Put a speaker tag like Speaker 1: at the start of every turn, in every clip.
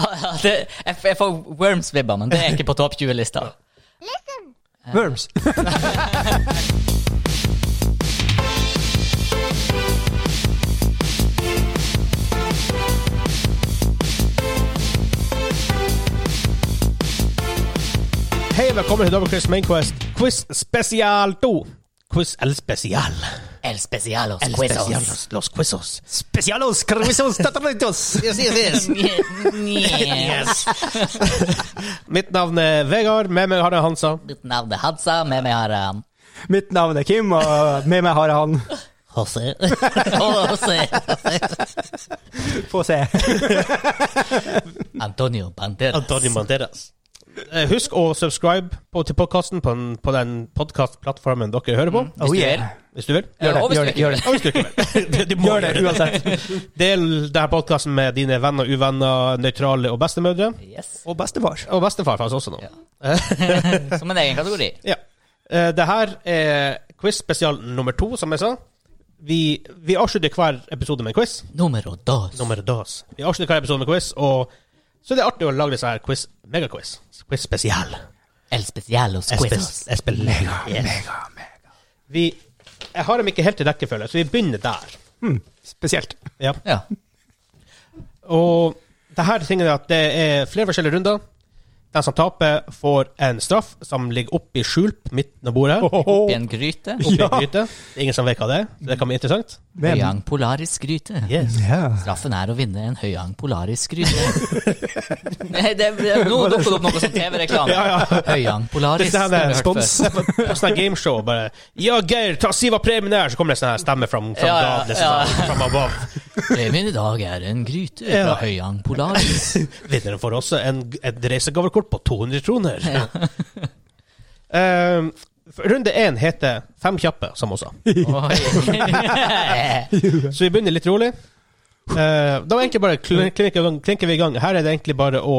Speaker 1: Ja, det, jeg, jeg får Worms-vibber, men det er ikke på topp 20-lista.
Speaker 2: Worms. Hei, velkommen til Double Quiz Mainquest. Quiz spesial 2. Quiz el spesial.
Speaker 1: El Specialos
Speaker 2: El
Speaker 1: Quizos.
Speaker 2: specialos, los quizos. Specialos, quizos, tataritos. Yes, yes, yes.
Speaker 1: Nye.
Speaker 2: Mitt navn er Vegard, med meg har jeg Hansa.
Speaker 1: Mitt navn er Hadsa, med meg har jeg han
Speaker 3: Mitt navn er Kim, og med meg har jeg han.
Speaker 1: José. José.
Speaker 3: Få se.
Speaker 1: Antonio Banderas.
Speaker 2: Antonio Banderas. Eh, Husk å subscribe på, til podkasten på, den- på den podkastplattformen dere hører på.
Speaker 1: Hvis
Speaker 3: Oh,
Speaker 1: du
Speaker 3: yeah.
Speaker 1: vil.
Speaker 2: Hvis du vil.
Speaker 1: Eh,
Speaker 3: det,
Speaker 1: og hvis
Speaker 3: gjør
Speaker 1: du
Speaker 3: det,
Speaker 1: ikke
Speaker 3: gjør
Speaker 1: vil.
Speaker 2: Ja, hvis du ikke vil. Du- du må
Speaker 3: Gjør det
Speaker 2: gjøre
Speaker 3: uansett.
Speaker 2: Del denne podkasten med dine venner, uvenner, nøytrale og bestemødre.
Speaker 1: Yes.
Speaker 3: Og bestefar.
Speaker 2: Og bestefar faktisk også nå. Ja.
Speaker 1: Som en egen kategori.
Speaker 2: Eh, Det her er quiz spesial nummer to, som jeg sa. Vi, vi avslutter hver episode med en quiz.
Speaker 1: Numero dos.
Speaker 2: Nummer dos. Vi avslutter hver episode med quiz, og så er det artig å lage disse her quiz, megaquiz. Quiz spesial.
Speaker 1: El Specialos Quizos.
Speaker 2: Jeg spiller mega, mega, Vi, jeg har dem ikke helt i rekkefølge, så vi begynner der.
Speaker 3: Hmm, spesielt.
Speaker 2: Ja.
Speaker 1: Ja.
Speaker 2: Og det her tingen er at det er flere forskjellige runder. Den som taper, får en straff som ligger oppe i skjul på midten av bordet. her.
Speaker 1: I en gryte.
Speaker 2: Oppe i
Speaker 3: Ja.
Speaker 2: en gryte. Det er ingen som vet hva det er, så det kan bli interessant.
Speaker 1: Høyang Polaris gryte.
Speaker 3: Ja.
Speaker 1: Straffen er å vinne en Høyang Polaris gryte. Nei, det, det, nå dukker det opp noe som TV-reklame. Høyang Polaris.
Speaker 2: Dette her
Speaker 1: har
Speaker 2: er
Speaker 1: vi hørt
Speaker 2: spons.
Speaker 1: før.
Speaker 2: Det er På på sånn her gameshow bare Ja, Geir, ta Siva premien her! Så kommer det sånn her stemme fra
Speaker 1: Ja, ja, ja.
Speaker 2: above.
Speaker 1: Premien i dag er en gryte
Speaker 2: Ja.
Speaker 1: fra Høyang Polaris.
Speaker 2: Vinneren får også en, et reisegavekort på 200 kroner. Eh, runde én heter Fem kjappe, som hun sa.
Speaker 1: Oi.
Speaker 2: Så vi begynner litt rolig. Eh, da er egentlig bare kl- klinker, vi i gang- klinker vi i gang. Her er det egentlig bare å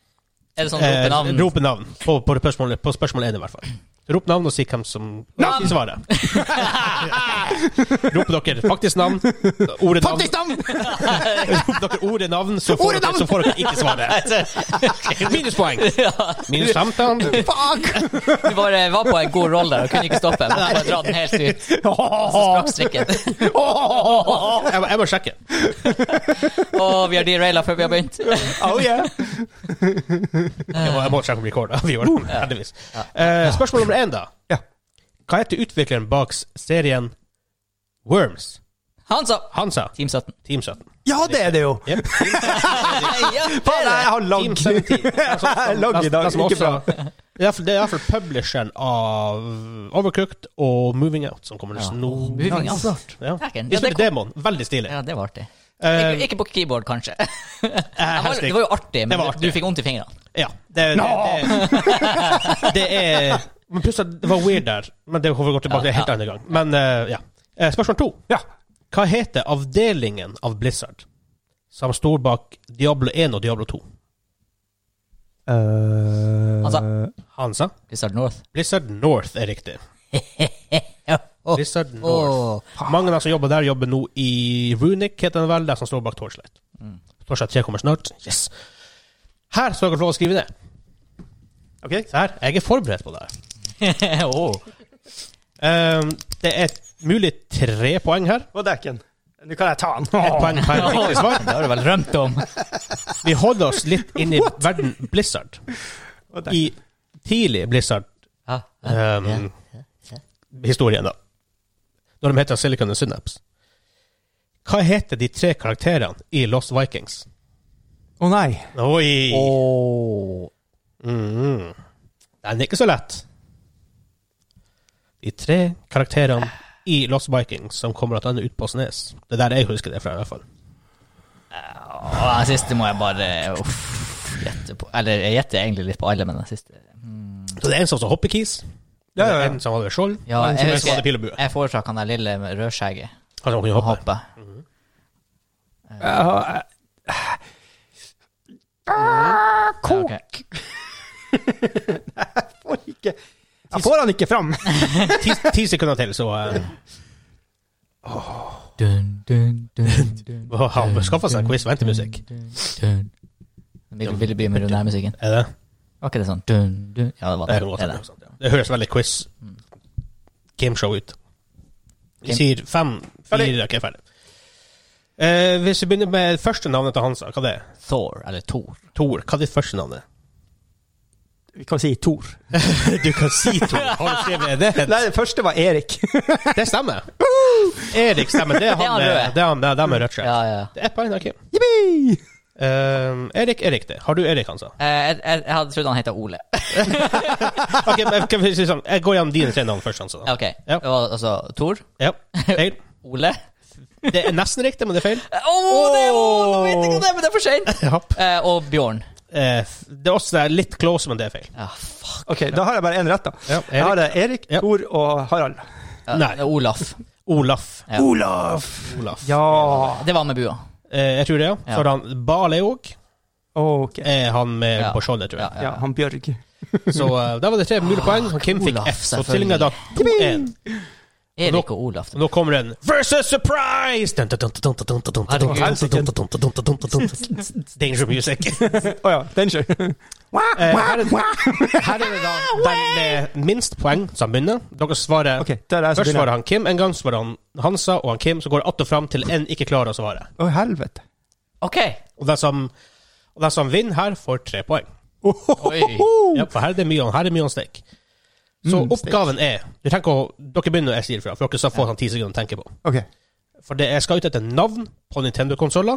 Speaker 1: Er det sånn
Speaker 2: eh,
Speaker 1: ropenavn?
Speaker 2: rope navn på, på spørsmål på spørsmål én, i hvert fall. Rop navn og si hvem som
Speaker 1: Navn!
Speaker 2: si svaret. Roper dere faktisk navn, ordet navn
Speaker 3: Faktisk navn!
Speaker 2: Roper dere ordet navn, så får,
Speaker 3: Ordet
Speaker 2: dere,
Speaker 3: navn!
Speaker 2: så får dere ikke svaret. Minuspoeng. Minus 15.
Speaker 3: Fuck!
Speaker 1: Du bare var på en god roll der og kunne ikke stoppe. Måtte bare dra den helt ut. Og så
Speaker 2: Ah.
Speaker 1: sprakk strikken.
Speaker 2: Jeg må, jeg må sjekke.
Speaker 1: Og vi har deraila før vi har begynt.
Speaker 3: Oh yeah.
Speaker 2: Jeg må, jeg må sjekke om recorda. Vi gjorde det, heldigvis. Eh, spørsmål nummer én, da.
Speaker 3: Ja.
Speaker 2: Hva heter utvikleren bak serien Worms?
Speaker 1: Han sa
Speaker 2: Hansa,
Speaker 1: Team 17.
Speaker 2: Team 17.
Speaker 3: ja, det er det jo.
Speaker 2: Yep.
Speaker 1: Ja,
Speaker 3: Faen, jeg har
Speaker 2: Team
Speaker 3: lagg.
Speaker 2: 17.
Speaker 3: Lagg i dag,
Speaker 2: Den som
Speaker 3: ikke bra.
Speaker 2: også- Det er iallfall- det er iallfall publisheren av Overcooked og Moving Out som kommer
Speaker 1: Ja,
Speaker 2: nesten nå.
Speaker 1: moving
Speaker 3: Nice.
Speaker 1: out.
Speaker 2: Ja.
Speaker 1: Takken.
Speaker 2: Vi
Speaker 1: Ja, det
Speaker 2: spilte Demon. Veldig stilig.
Speaker 1: Ja, det var artig.
Speaker 2: Eh,
Speaker 1: Ikke, ikke på keyboard, kanskje. Det var,
Speaker 2: helst
Speaker 1: det
Speaker 2: ikke.
Speaker 1: var jo artig, men
Speaker 2: Det var artig.
Speaker 1: du fikk vondt i fingrene.
Speaker 2: Ja. Det, det, det, det er Men plutselig, det var weird der. Men det får vi gå tilbake til en helt
Speaker 1: Ja,
Speaker 2: annen gang. Men eh, ja. Eh, Spørsmål to.
Speaker 3: Ja.
Speaker 2: Hva heter avdelingen av Blizzard som står bak Diablo 1 og Diablo 2?
Speaker 3: Eh,
Speaker 1: Altså.
Speaker 2: Hansa?
Speaker 1: Blizzard North.
Speaker 2: Blizzard North er riktig.
Speaker 1: Åh,
Speaker 2: Blizzard North.
Speaker 1: åh.
Speaker 2: Mange av dem som jobber der, jobber nå i Runic, heter den vel, der som står bak Torchlight.
Speaker 1: Mm.
Speaker 2: Torchlight 3 kommer snart. Yes. Her skal dere få lov å skrive ned.
Speaker 3: Ok.
Speaker 2: Se her. Jeg er forberedt på det her.
Speaker 1: Åh.
Speaker 2: Ehm, det er mulig tre poeng her.
Speaker 3: På dekken. Nå kan jeg ta den.
Speaker 2: Ett poeng per riktig svar.
Speaker 1: Det har du vel rømt om?
Speaker 2: Vi holder oss litt inn i verden Blizzard.
Speaker 3: På dekken.
Speaker 2: I tidlig Blizzard-historien,
Speaker 1: Ja.
Speaker 2: Ehm. da. Når de heter Silicon and Synapse. Hva heter de tre karakterene i Lost Vikings?
Speaker 3: Å nei.
Speaker 2: Oi!
Speaker 1: Åh.
Speaker 2: Mhm. Den er ikke så lett. De tre karakterene i Lost Vikings som kommer til å ende ut på Snes. Det er der jeg husker det fra, i hvert fall.
Speaker 1: Og den siste må jeg bare uff, gjette på. Eller jeg gjetter egentlig litt på alle, men den siste
Speaker 2: Så det er en som har hoppekis.
Speaker 3: Ja, ja, ja.
Speaker 2: En som hadde skjold.
Speaker 1: Ja,
Speaker 2: og en som
Speaker 1: jeg
Speaker 2: hadde
Speaker 1: husker
Speaker 2: pil og bue.
Speaker 1: jeg foretrakk han der lille med rødskjegget.
Speaker 2: Han som
Speaker 1: Og
Speaker 2: kunne hoppe.
Speaker 1: hoppa.
Speaker 3: Ja,
Speaker 1: Kok!
Speaker 3: jeg får ikke Jeg får han ikke fram.
Speaker 2: Ti, ti sekunder til, så eh,
Speaker 1: Dun, dun, dun, dun,
Speaker 2: har han skaffa seg quiz-ventemusikk.
Speaker 1: dun, dun. Mikkel Filip begynner med den her musikken.
Speaker 2: Er det?
Speaker 1: Var ikke det sånn dun, dun? Ja, det var
Speaker 2: Det,
Speaker 1: det.
Speaker 2: sånn, er godt,
Speaker 1: det, er det.
Speaker 2: sant, ja. det høres veldig quiz gameshow ut. Vi
Speaker 1: Game-
Speaker 2: sier fem, fire, ok, ferdig. Eh, hvis vi begynner med første navnet til Hansa, hva det er?
Speaker 1: Thor, eller Thor.
Speaker 2: Tor. Hva er ditt første navn? er?
Speaker 3: Vi kan si Tor.
Speaker 2: Du kan si Tor. Har du skrevet det?
Speaker 3: Nei, det første var Erik.
Speaker 2: Det stemmer. Erik stemmer. Det er
Speaker 1: Det er han
Speaker 2: han, eh,
Speaker 1: røde.
Speaker 2: det er han, det er dem med rødt skjegg.
Speaker 1: Ja, ja.
Speaker 2: Det er ett poeng, ok.
Speaker 3: Jippi!
Speaker 2: Eh, Erik er riktig. Har du Erik, Hansa?
Speaker 1: Eh, Jeg, jeg, jeg hadde trodd han het Ole.
Speaker 2: Ok, men kan vi si sånn, Jeg går gjennom dine tre navn først, Hansa. da.
Speaker 1: Ok,
Speaker 2: Ja.
Speaker 1: det var altså Thor,
Speaker 2: Ja, feil.
Speaker 1: Ole
Speaker 2: Det er nesten riktig, men det er feil.
Speaker 1: Å, det er Ole! Nå vet jeg ikke det, men det er for sent! Eh, og Bjørn.
Speaker 2: Eh, f- det er også det er litt close, men det er feil.
Speaker 1: Ja, fuck.
Speaker 3: Ok, da har jeg bare én rett, da.
Speaker 2: Ja,
Speaker 3: Jeg har
Speaker 2: Erik.
Speaker 3: eh, Erik,
Speaker 2: Ja.
Speaker 3: Tor og Harald.
Speaker 1: Ja,
Speaker 2: Nei.
Speaker 1: det er Olaf.
Speaker 2: Olaf.
Speaker 1: Ja.
Speaker 3: Olaf!
Speaker 2: Olaf.
Speaker 3: Ja.
Speaker 1: Det var med bua.
Speaker 2: Eh, jeg tror det, ja.
Speaker 1: Ja.
Speaker 2: Så har han Bale òg.
Speaker 3: Ok.
Speaker 2: Er han med
Speaker 1: Ja.
Speaker 2: på skjoldet, tror
Speaker 1: Ja,
Speaker 2: jeg.
Speaker 1: ja.
Speaker 3: Ja, han Bjørg.
Speaker 2: Så eh, der var det tre mulige poeng. Og Kim fikk
Speaker 1: Olaf,
Speaker 2: F, så
Speaker 1: selvfølgelig.
Speaker 2: stillinga er da 2-1.
Speaker 1: Erik og Olaf.
Speaker 2: Og nå kommer den versus surprise! Dun, dun, dun, dun, dun, dun, dun, dun, dun, dun, dun, dun, dun, dun, dun, dun, dun. Danger music.
Speaker 3: Å ja, den kjører.
Speaker 2: Eh, her, er, her er det da den med minst poeng som begynner. Dere svarer
Speaker 3: Ok, der er jeg som
Speaker 2: Først svarer
Speaker 3: begynner.
Speaker 2: han Kim en gang, så svarer han Hansa og han Kim. Så går det att og fram til en ikke klarer å svare.
Speaker 3: Å, helvete.
Speaker 1: Ok.
Speaker 2: Og den som, og den som vinner her, får tre poeng.
Speaker 1: Oi.
Speaker 2: Ja, for her er det mye, her er det mye on stake. Så
Speaker 3: Mm, steak.
Speaker 2: oppgaven er du tenker å, Dere begynner når jeg sier fra, for dere skal få sånn ti sekunder å tenke på.
Speaker 3: Ok.
Speaker 2: For det, jeg skal ut etter navn på Nintendo-konsoller.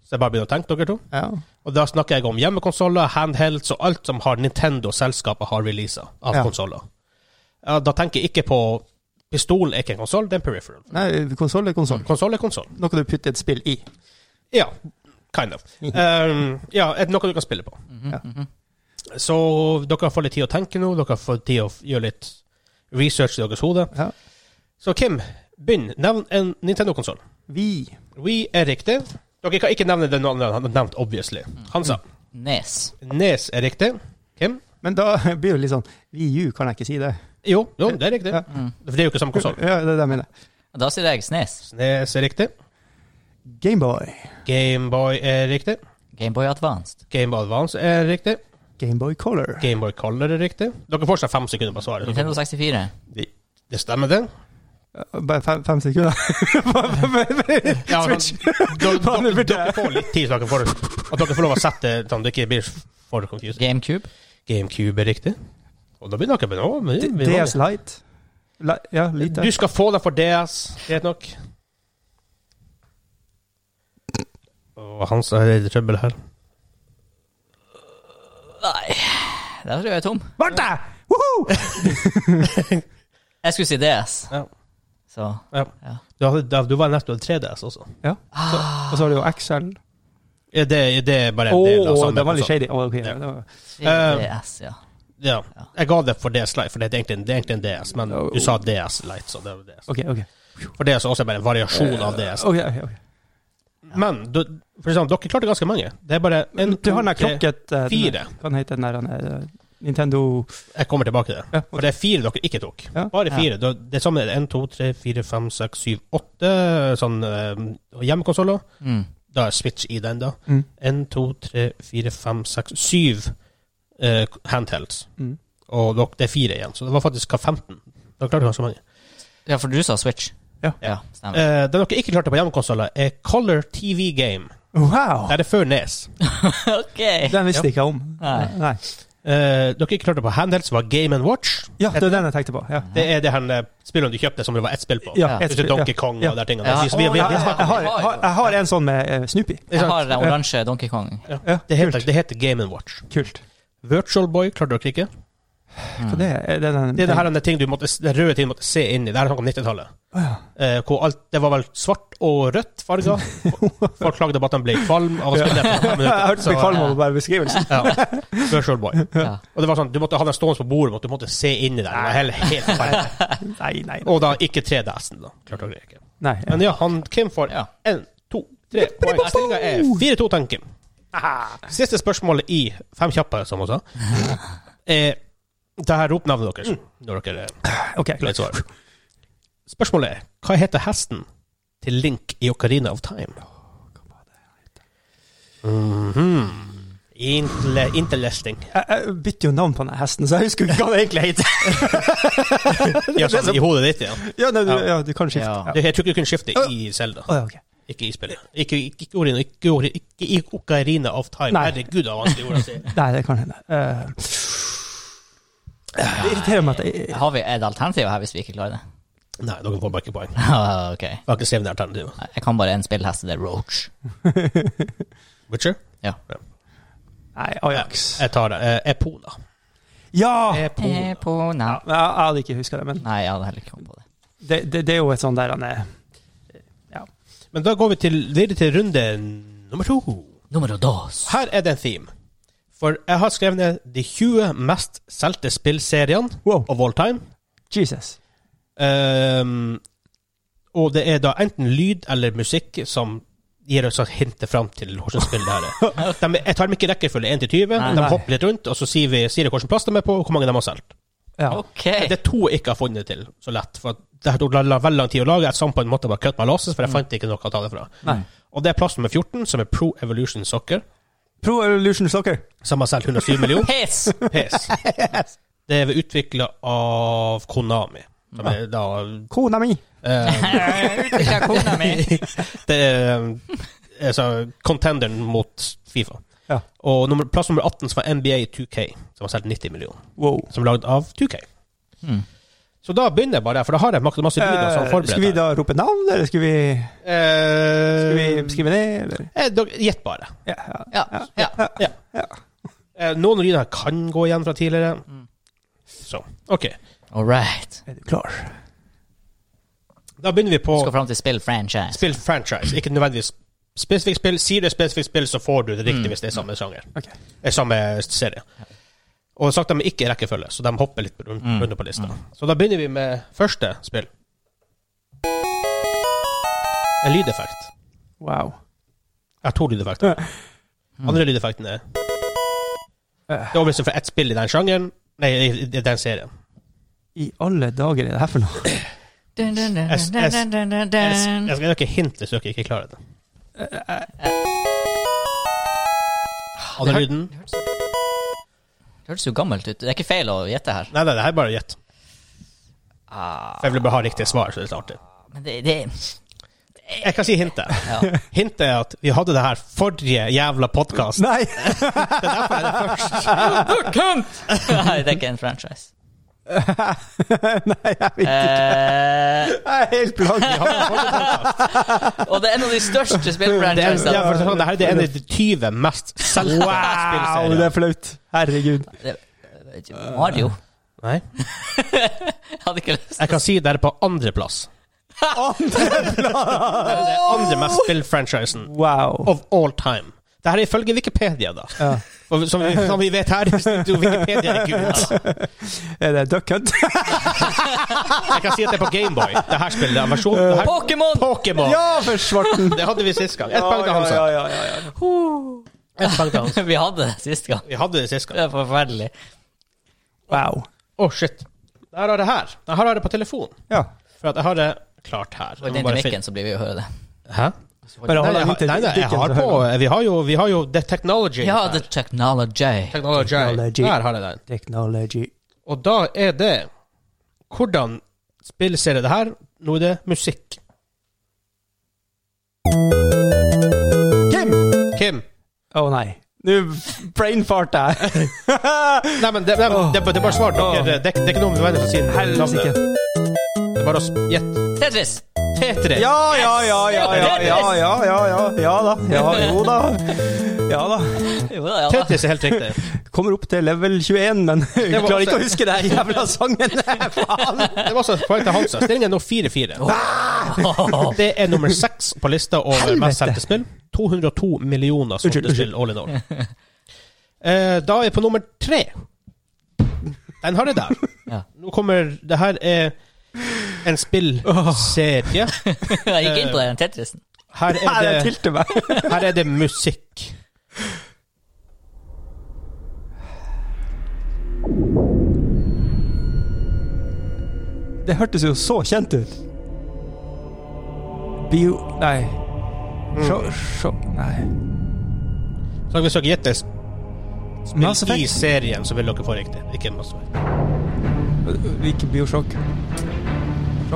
Speaker 2: Så jeg bare begynner å tenke, dere to.
Speaker 3: Ja.
Speaker 2: Og da snakker jeg om hjemmekonsoller, handhelds og alt som har Nintendo-selskapet har releasa av
Speaker 3: Ja.
Speaker 2: konsoller. Ja, da tenker jeg ikke på Pistol er ikke en konsoll, det er en peripheral.
Speaker 3: Nei, konsoll er konsoll.
Speaker 2: Konsoll er konsoll.
Speaker 3: Noe du putter et spill i.
Speaker 2: Ja, kind of. Um, ja, et- noe du kan spille på.
Speaker 3: Mm.
Speaker 2: mhm. Så dere får litt tid å tenke nå. Dere får tid å f- gjøre litt research i deres hode.
Speaker 3: Ja.
Speaker 2: Så Kim, begynn. Nevn en Nintendo-konsoll.
Speaker 3: Vi.
Speaker 2: We er riktig. Dere kan ikke nevne den andre han har nevnt, obviously. Hansa.
Speaker 1: Nes.
Speaker 2: Nes E er riktig. Kim?
Speaker 3: Men da blir det litt sånn Wii U, kan jeg ikke si det?
Speaker 2: Jo, jo det er riktig.
Speaker 3: Ja.
Speaker 2: For det er jo ikke samme konsoll.
Speaker 3: Ja, det er det jeg mener.
Speaker 1: Da sier jeg E Snes.
Speaker 2: Nes er riktig.
Speaker 3: Gameboy.
Speaker 2: Gameboy er riktig.
Speaker 1: Gameboy Advanced.
Speaker 2: Gameboy Advance er riktig.
Speaker 3: Gameboy Color.
Speaker 2: Gameboy Color er riktig. Dere får seg fem sekunder på svaret.
Speaker 1: Nintendo 64.
Speaker 2: Det, det stemmer, det.
Speaker 3: Bare fem, fem sekunder.
Speaker 2: Ja, men, dere,
Speaker 3: Faen, det
Speaker 2: dere,
Speaker 3: burde
Speaker 2: dere
Speaker 3: jeg.
Speaker 2: får litt tid, så dere får, at dere får lov å sette sånn at det ikke blir for confused.
Speaker 1: GameCube.
Speaker 2: GameCube er riktig. Og da begynner dere med å, men- men-
Speaker 3: DS altså Light. Li- Ja, lite.
Speaker 2: Du skal få den for DS, greit nok. Og Hans er i trøbbel her.
Speaker 1: Nei, der tror jeg jeg er tom.
Speaker 3: Varte! Woho!
Speaker 1: Jeg skulle si DS.
Speaker 2: Ja.
Speaker 1: Så
Speaker 2: Ja.
Speaker 1: Ja.
Speaker 2: Du, hadde, du var nesten 3DS også.
Speaker 3: Ja. Så, og så har du jo XL.
Speaker 2: Er det, er det er bare
Speaker 3: Å,
Speaker 2: en del av samme
Speaker 3: den var litt
Speaker 2: konsert?
Speaker 3: shady. Å, ok, det var-
Speaker 2: Eh,
Speaker 1: DS, ja.
Speaker 2: Ja. Jeg ga det for DS Lite, for det er egentlig, det er egentlig en DS, men
Speaker 3: Oh.
Speaker 2: du sa DS Lite, så det var DS.
Speaker 3: ok, ok.
Speaker 2: For DS er også bare en variasjon av DS.
Speaker 3: Ok, ok, ok.
Speaker 2: Men du, for eksempel, dere klarte ganske mange. Det er bare en,
Speaker 3: Du har den der
Speaker 2: to, tre-
Speaker 3: klokket eh, den-
Speaker 2: fire.
Speaker 3: Hva heter den der den der, Nintendo
Speaker 2: Jeg kommer tilbake til det.
Speaker 3: Ja,
Speaker 2: For det er fire dere ikke tok.
Speaker 3: Ja.
Speaker 2: Bare fire. Da- Det er samme 1, 2, 3, 4, 5, 6, 7, 8 sånn, eh, hjemmekonsoller.
Speaker 1: Mm.
Speaker 2: Da er Switch i den, da.
Speaker 3: Mm.
Speaker 2: 1, 2, 3, 4, 5, 6, 7 eh, handhelds.
Speaker 3: Mm.
Speaker 2: Og dere, det er fire igjen. Så det var faktisk hva, 15. Dere klarte ganske mange.
Speaker 1: Ja, for du sa Switch.
Speaker 3: Ja.
Speaker 1: ja stemmer.
Speaker 2: Eh, det dere ikke klarte på hjemmekonsoller, er Color TV Game.
Speaker 3: Wow!
Speaker 2: Der er før E Nes.
Speaker 3: Eh.
Speaker 1: ok.
Speaker 3: Den visste ikke jeg om.
Speaker 1: Nei.
Speaker 3: Nei.
Speaker 2: Eh, dere ikke klarte på handhelds, var Game and Watch.
Speaker 3: Ja, det er den jeg tenkte på. Ja.
Speaker 2: Det er det her eh, spillene du kjøpte som det var ett spill på.
Speaker 3: Ja,
Speaker 2: Hvis du Donkey Kong
Speaker 3: Ja.
Speaker 2: og de tingene.
Speaker 1: Ja.
Speaker 2: Vi- vi- vi- vi-
Speaker 3: Jeg, jeg,
Speaker 1: Ja.
Speaker 3: jeg, har, jeg, har, jeg har en sånn med eh, Snoopy.
Speaker 1: Jeg har den oransje Donkey Kong.
Speaker 3: Ja,
Speaker 2: Det heter,
Speaker 3: kult.
Speaker 2: det heter Game and Watch.
Speaker 3: kult.
Speaker 2: Virtual Boy klarte dere ikke.
Speaker 3: Hva det er det? Er den,
Speaker 2: Det er det her er ting du måtte, det røde ting du måtte se inn i. Det her er snakk om 90-tallet.
Speaker 3: Å, ja.
Speaker 2: Eh, hvor alt, det var vel svart og rødt farger. Folk klagde på at de ble kvalm av å spille det på fem
Speaker 3: Jeg
Speaker 2: minutter.
Speaker 3: hørte
Speaker 2: Så,
Speaker 3: meg kvalm over bare beskrivelsen.
Speaker 2: ja. Virtual Boy.
Speaker 1: Ja.
Speaker 2: Og det var sånn, du måtte ha den stående på bordet, men du måtte se inn i den. Det var helt, helt farlig.
Speaker 3: Nei, nei.
Speaker 2: Og da ikke 3DS-en, da. Klarte dere ikke.
Speaker 3: nei.
Speaker 2: Men ja, han Kim får
Speaker 1: Mm. Ja.
Speaker 2: én, to, tre poeng. Stillinga er 4-2 til han Kim.
Speaker 3: Ah,
Speaker 2: Siste spørsmålet i Fem kjappe, som hun sa, er det her rop navnet
Speaker 3: Mm.
Speaker 2: deres når dere
Speaker 3: Ok,
Speaker 2: vet svaret. Spørsmålet er hva heter hesten til Link i Ocarina of Time? Mhm. Intle, interlisting.
Speaker 3: Jeg, jeg bytter jo navn på den hesten, så jeg husker jo ikke hva den egentlig heter.
Speaker 2: Ja, sånn, I hodet ditt, ja.
Speaker 3: Ja, nei, du,
Speaker 2: Ja.
Speaker 3: ja, du kan skifte.
Speaker 1: Ja.
Speaker 3: Ja.
Speaker 2: Jeg tror ikke du kunne skifte i Zelda.
Speaker 3: Å, ja, ok.
Speaker 2: Ikke i spillet. Ikke, ikke, ikke, Orina, ikke, Ori- ikke i Ocarina of Time.
Speaker 3: Nei.
Speaker 2: Herregud, det var vanskelig ord å si.
Speaker 3: Nei, det kan hende. Eh, det irriterer meg at jeg
Speaker 1: Har vi et alternativ her hvis vi ikke klarer det?
Speaker 2: Nei, dere får bare ikke poeng.
Speaker 1: ok.
Speaker 2: Jeg har ikke skrevet ned alternativet.
Speaker 1: Nei, Jeg kan bare en spillhest, det er Roach.
Speaker 2: Witcher?
Speaker 1: Ja.
Speaker 3: Nei, Ajax.
Speaker 2: Jeg tar det. Eh, Epona.
Speaker 3: Ja! Jeg,
Speaker 1: eh,
Speaker 2: Epona.
Speaker 1: Epona.
Speaker 3: jeg hadde ikke huska det, men
Speaker 1: Nei, jeg hadde heller ikke kommet på det.
Speaker 3: det, det, det er jo et sånn der han er
Speaker 2: Men da går vi til, videre til runde nummer to.
Speaker 1: Nummer dos.
Speaker 2: Her er det en theme. For jeg har skrevet ned de 20 mest solgte spillseriene
Speaker 3: Wow.
Speaker 2: of all time.
Speaker 3: Jesus.
Speaker 2: Ehm, og det er da enten lyd eller musikk som gir oss et hint fram til hvordan spill det her er. De, jeg tar dem ikke i rekkefølge 1 til 20.
Speaker 1: Nei,
Speaker 2: de
Speaker 3: nei.
Speaker 2: hopper litt rundt, og så sier, vi, sier de hvilken plass de er på, og hvor mange de har solgt.
Speaker 3: Ja.
Speaker 1: Ok.
Speaker 2: Det er to jeg ikke har funnet til så lett. For at det tok la- la- veldig lang tid å lage. Et sampoint måtte jeg bare kutte meg låses, for jeg fant ikke noe å ta det fra.
Speaker 3: Nei.
Speaker 2: Og det er plass nummer 14, som er Pro Evolution Soccer,
Speaker 3: Pro Evolution Soccer.
Speaker 2: som har solgt 107 millioner.
Speaker 1: Piss!
Speaker 2: PS. Det er utvikla av Konami. Som er da
Speaker 3: Kona mi!
Speaker 2: eh,
Speaker 1: Utvikla kona mi.
Speaker 2: Det er eh, altså, contenderen mot Fifa.
Speaker 3: Ja.
Speaker 2: Og nummer, plass nummer 18 som var NBA 2K, som har solgt 90 millioner.
Speaker 3: Wow.
Speaker 2: Som er lagd av 2K.
Speaker 1: Mm.
Speaker 2: Så da begynner jeg bare der, for da har jeg masse, masse lyder som
Speaker 3: Eh,
Speaker 2: forberedt.
Speaker 3: skal vi da rope navn, eller skal vi, skal vi
Speaker 2: Eh,
Speaker 3: skrive ned, eller?
Speaker 2: eh, dere- Gjett bare.
Speaker 3: Ja, ja.
Speaker 1: Ja. ja.
Speaker 2: Eh, noen av lydene her kan gå igjen fra tidligere.
Speaker 3: Mm.
Speaker 2: Så, OK.
Speaker 1: All right.
Speaker 3: Er du klar?
Speaker 2: Da begynner vi på
Speaker 1: Skal fram til spill franchise.
Speaker 2: spill franchise. Ikke nødvendigvis spesifikt spill. Sier du et spesifikt spill, så får du det riktig hvis det er samme sjanger.
Speaker 3: Ok.
Speaker 2: Eh, samme serie. Og sagt de er ikke i rekkefølge, så de hopper litt rundt, rundt på lista. Så da begynner vi med første spill. En lydeffekt.
Speaker 3: Wow.
Speaker 2: Jeg har to lydeffekter. Mm. Andre lydeffekten er Det er overbevisning for ett spill i den sjangeren. Nei, i, i i den serien.
Speaker 3: I alle dager er det her for noe?
Speaker 1: Dun, dun, dun,
Speaker 2: S-
Speaker 1: dun,
Speaker 2: S-
Speaker 1: dun, dun, dun,
Speaker 2: Jeg, s-
Speaker 1: dun.
Speaker 2: jeg skal gi dere hint hvis dere ikke klarer det. Andre lyden
Speaker 1: Det høres jo gammelt ut. Det er ikke feil å gjette her.
Speaker 2: Nei, nei, det her er bare gjett. For jeg vil bare ha riktig svar. så det er litt artig.
Speaker 1: Ah, Men det, det
Speaker 2: Jeg kan si hintet.
Speaker 1: ja.
Speaker 2: Hintet er at vi hadde det her forrige jævla podkast.
Speaker 3: Nei!
Speaker 1: Nei, det er ikke en franchise.
Speaker 3: Nei, jeg vet ikke.
Speaker 1: Eh,
Speaker 3: Jeg er helt blank.
Speaker 1: og det er en av de største
Speaker 2: Det er, ja,
Speaker 1: spillfranchisene.
Speaker 2: for sånn, det her er en av de 20 mest solgte
Speaker 3: Wow, det
Speaker 2: spillserier.
Speaker 3: er flaut. Herregud.
Speaker 1: Mario.
Speaker 2: Nei.
Speaker 1: Jeg hadde ikke lyst.
Speaker 2: Jeg kan si det er på andreplass. Det er det andre mest spill-franchisen
Speaker 3: Wow.
Speaker 2: of all time. Det her er ifølge Wikipedia, da.
Speaker 3: Ja.
Speaker 2: Og som, vi, som vi vet her, jo, Wikipedia er gud. altså.
Speaker 3: Er det Duck Hunt?
Speaker 2: Jeg kan si at det er på Gameboy. Det her spillet er versjonen. det her-
Speaker 1: Pokémon!
Speaker 2: Pokémon!
Speaker 3: Ja, for svarten!
Speaker 2: Det hadde vi sist gang. Ett poeng til Hansa.
Speaker 3: ja, ja, ja.
Speaker 2: Ett poeng til Hansa.
Speaker 1: Vi hadde det sist gang.
Speaker 2: Vi hadde det sist gang.
Speaker 1: Det er forferdelig.
Speaker 3: Wow.
Speaker 2: Å, Oh, shit. Der har jeg det her. Jeg har det på telefon.
Speaker 3: Ja.
Speaker 2: For at jeg har det klart her.
Speaker 1: Og i den mikken så blir vi å høre det.
Speaker 2: Hæ? Nei,
Speaker 3: Bare hold
Speaker 2: jeg,
Speaker 3: den
Speaker 2: har-
Speaker 3: inntil
Speaker 2: nei, nei, jeg
Speaker 3: dikken,
Speaker 2: har
Speaker 3: så
Speaker 2: på
Speaker 3: hører
Speaker 2: Vi har jo, vi har jo The Technology.
Speaker 1: Ja,
Speaker 2: her.
Speaker 1: the technology.
Speaker 2: Technology.
Speaker 3: Technology.
Speaker 2: Der har jeg den.
Speaker 3: du. Technology.
Speaker 2: Og da er det Hvordan spillserie det her? Nå er det musikk.
Speaker 3: Kim!
Speaker 2: Kim?
Speaker 3: Å nei. Nå brainfarta jeg.
Speaker 2: Nei, men det, nei, men det, det er bare svar. Dere- Det, det, er ikke noe med vennene som sier
Speaker 3: Helsike.
Speaker 2: navnet. Det er bare å sp- gjette.
Speaker 1: Tetris!
Speaker 2: Tetris.
Speaker 3: Ja, ja, ja, ja, ja, ja, ja, ja, ja, ja da. Ja, jo da. Ja da.
Speaker 1: Jo da, ja da.
Speaker 2: Tetris er helt riktig.
Speaker 3: Kommer opp til level 21, men jeg
Speaker 2: var
Speaker 3: klarer
Speaker 2: også-
Speaker 3: ikke å huske den jævla sangen. Faen.
Speaker 2: Det var også et poeng til Hansa. Stillingen er nå 4-4. Det er nummer seks på lista over
Speaker 3: Helvete.
Speaker 2: mest solgte spill. 202 millioner
Speaker 3: Unnskyld,
Speaker 2: solgte
Speaker 3: unnskyld.
Speaker 2: spill all in all. Eh, Da er jeg på nummer tre. Den har jeg der.
Speaker 1: Ja.
Speaker 2: Nå kommer Det her er en spillserie.
Speaker 1: Jeg gikk inn på den Tetrisen.
Speaker 2: Her
Speaker 3: Her
Speaker 2: er
Speaker 3: jeg
Speaker 2: det,
Speaker 3: tilte meg.
Speaker 2: her er det musikk.
Speaker 3: Det hørtes jo så kjent ut. Bio... Nei. Sjå... Sjå... Nei.
Speaker 2: Så hvis dere gjetter
Speaker 3: Mass
Speaker 2: Spill i
Speaker 3: Effect.
Speaker 2: serien, så vil dere få riktig. Ikke Mass Effect.
Speaker 3: Ikke Bioshock.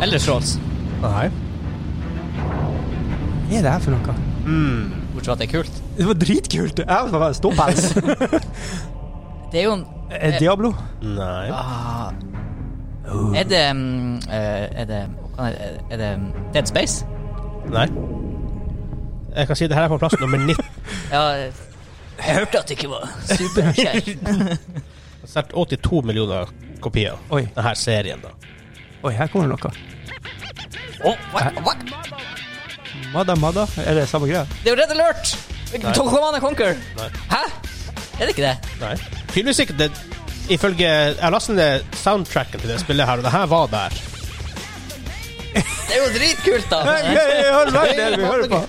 Speaker 1: Eller Trolls.
Speaker 2: Nei.
Speaker 3: Hva er det her for noe?
Speaker 1: Bortsett fra at det er kult.
Speaker 3: Det var dritkult! Jeg var bare ståpels.
Speaker 1: Det er jo en
Speaker 3: Eh, Diablo?
Speaker 2: Nei.
Speaker 1: ah, Er det mm, eh, Er det hva er det- Er det mm, Dead Space?
Speaker 2: Nei. Jeg kan si det her er på plass nummer 19.
Speaker 1: Ja, eh, jeg hørte at det ikke var superkjent.
Speaker 2: Sterkt 82 millioner kopier.
Speaker 3: Oi.
Speaker 2: Denne serien, da.
Speaker 3: Oi, her kommer det noe.
Speaker 1: Oh, what, what?
Speaker 3: Madda, madda. Er det samme greia?
Speaker 1: Det er jo Red Alert! Tom Command Conquer.
Speaker 2: Nei.
Speaker 1: Hæ? Er det ikke det?
Speaker 2: Nei. Tydeligvis ikke. Det, ifølge Jeg lastet ned soundtracken til det spillet her, og det her var der.
Speaker 1: Det er jo dritkult, da!
Speaker 3: Hei, hei, hei, hold vei, det er det vi hører på.